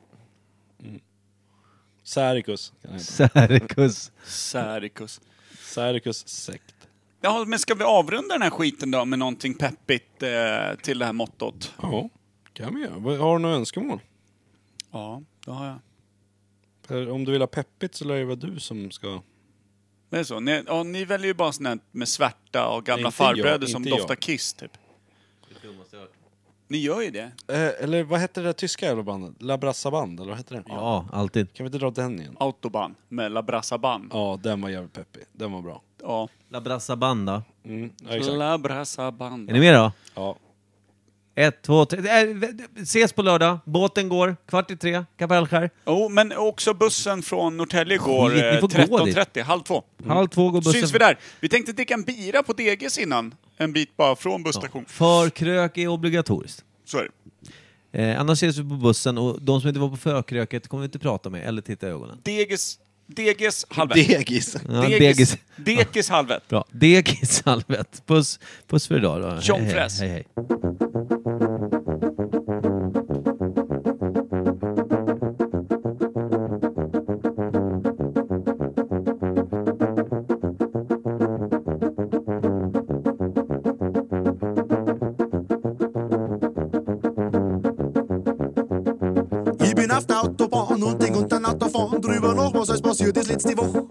Speaker 1: Särkus. kan han heta.
Speaker 5: Sarikus.
Speaker 3: Särikus.
Speaker 1: Särkus sekt.
Speaker 3: Ja, men ska vi avrunda den här skiten då med någonting peppigt eh, till det här mottot?
Speaker 1: Ja, kan vi göra. Vad- Har du några önskemål?
Speaker 3: Ja, det har jag.
Speaker 1: Per, Om du vill ha peppigt så lär det vara du som ska...
Speaker 3: Det är så. Ni, ja, ni väljer ju bara sånt här med svärta och gamla
Speaker 1: Inte
Speaker 3: farbröder
Speaker 1: jag,
Speaker 3: som
Speaker 1: inte jag.
Speaker 3: doftar kiss, typ. Ni gör ju det.
Speaker 1: Eh, eller vad hette det där tyska jävla bandet? La Brassa Band, eller vad hette det?
Speaker 5: Ja, alltid.
Speaker 1: Kan vi inte dra den igen?
Speaker 3: Autobahn med La Brassa Band.
Speaker 1: Ja, den var jävligt peppig. Den var bra.
Speaker 3: Ja.
Speaker 5: La Brassa Banda.
Speaker 1: Mm, ja, exakt.
Speaker 3: La Brassa Band.
Speaker 5: Är ni med då?
Speaker 1: Ja.
Speaker 5: Ett, två, tre. Äh, ses på lördag. Båten går kvart i tre. Kapellskär.
Speaker 3: Jo, men också bussen från Norrtälje går
Speaker 5: Skit, ni
Speaker 3: eh,
Speaker 5: får gå dit.
Speaker 3: 13.30, halv två.
Speaker 5: Halv två går bussen.
Speaker 3: Syns vi där. Vi tänkte dricka en bira på Deges innan. En bit bara från busstation.
Speaker 5: Förkrök är obligatoriskt.
Speaker 3: Så är det.
Speaker 5: Eh, annars ses vi på bussen och de som inte var på förkröket kommer vi inte prata med eller titta i ögonen.
Speaker 3: Deges, Deges halv ett.
Speaker 1: Degis.
Speaker 5: Ja,
Speaker 3: Degis,
Speaker 5: degis.
Speaker 3: Dekis halvet.
Speaker 5: Bra. Degis Salvet. Puss, puss för idag då. Hej,
Speaker 3: Tjongfräs.
Speaker 5: Hej, hej, hej.
Speaker 7: Ich bin auf der Autobahn und die ganze Nacht davon. Drüber nach, was alles passiert ist letzte Woche.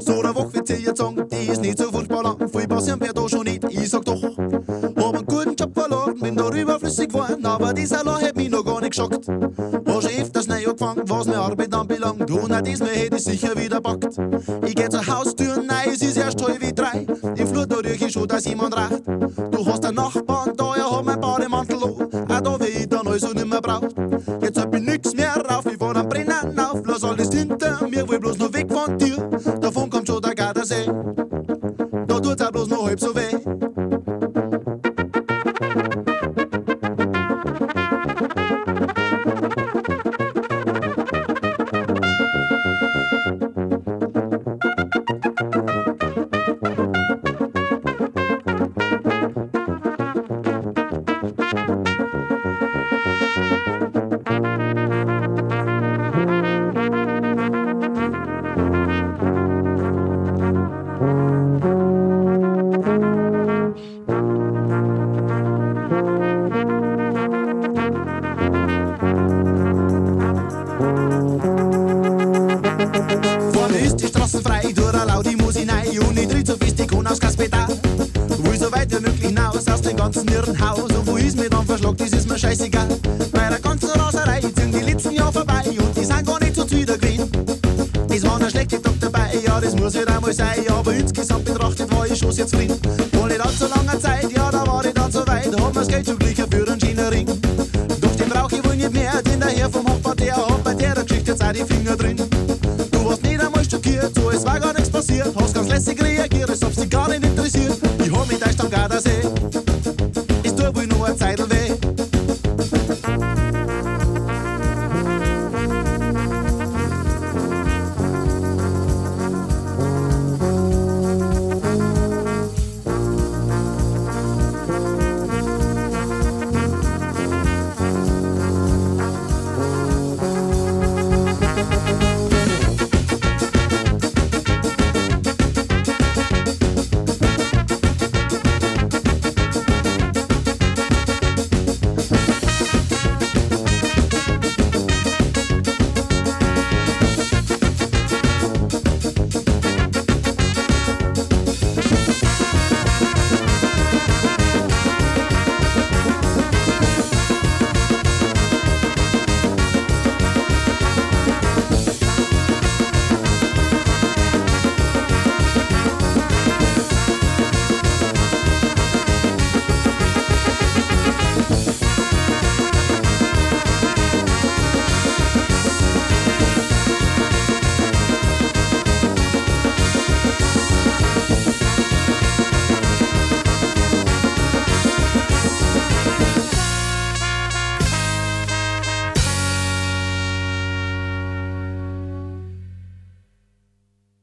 Speaker 7: So der Woche wird sie jetzt sagen, die ist nicht so furchtbar lang. Viel passieren wird da schon nicht, ich sag doch. Hab einen guten Job verloren, bin da überflüssig geworden, aber dieser Law hat mich noch gar nicht geschockt. Hab schon öfters neu angefangen, was meine Arbeit anbelangt. Und auch diesmal hätte ich sicher wieder packt. Ich geh zur Haustür, nein, es ist erst halb drei. Im Flur, da riech ich schon, dass jemand reicht. Du hast einen Nachbarn da, er hat meinen Bademantel an. Auch da, wie ich dann also nimmer braucht. Jetzt hab ich nix mehr rauf, ich war am Brennen auf. Lass alles hinter mir, will bloß noch weg von dir. Davon kommt schon der Gardasee. Da tut's auch bloß noch halb so weh. sonst nirgendwo. Und wo ist mir dann verschluckt, das ist mir scheißegal. Bei der ganzen Raserei sind die letzten Jahre vorbei und die sind gar nicht so zufrieden gewesen. Es war ein schlechter Tag dabei, ja, das muss halt einmal sein. Aber insgesamt betrachtet war ich schon sehr zufrieden. Vor nicht allzu langer Zeit, ja, da war ich dann so weit, hab mir's Geld zugeglichen für einen schönen Ring. Doch den brauch ich wohl nicht mehr, denn der Herr vom Hochparterre hat bei der Geschichte jetzt auch die Finger drin. Du warst nicht einmal schockiert, so es war gar nichts passiert, hast ganz lässig reagiert.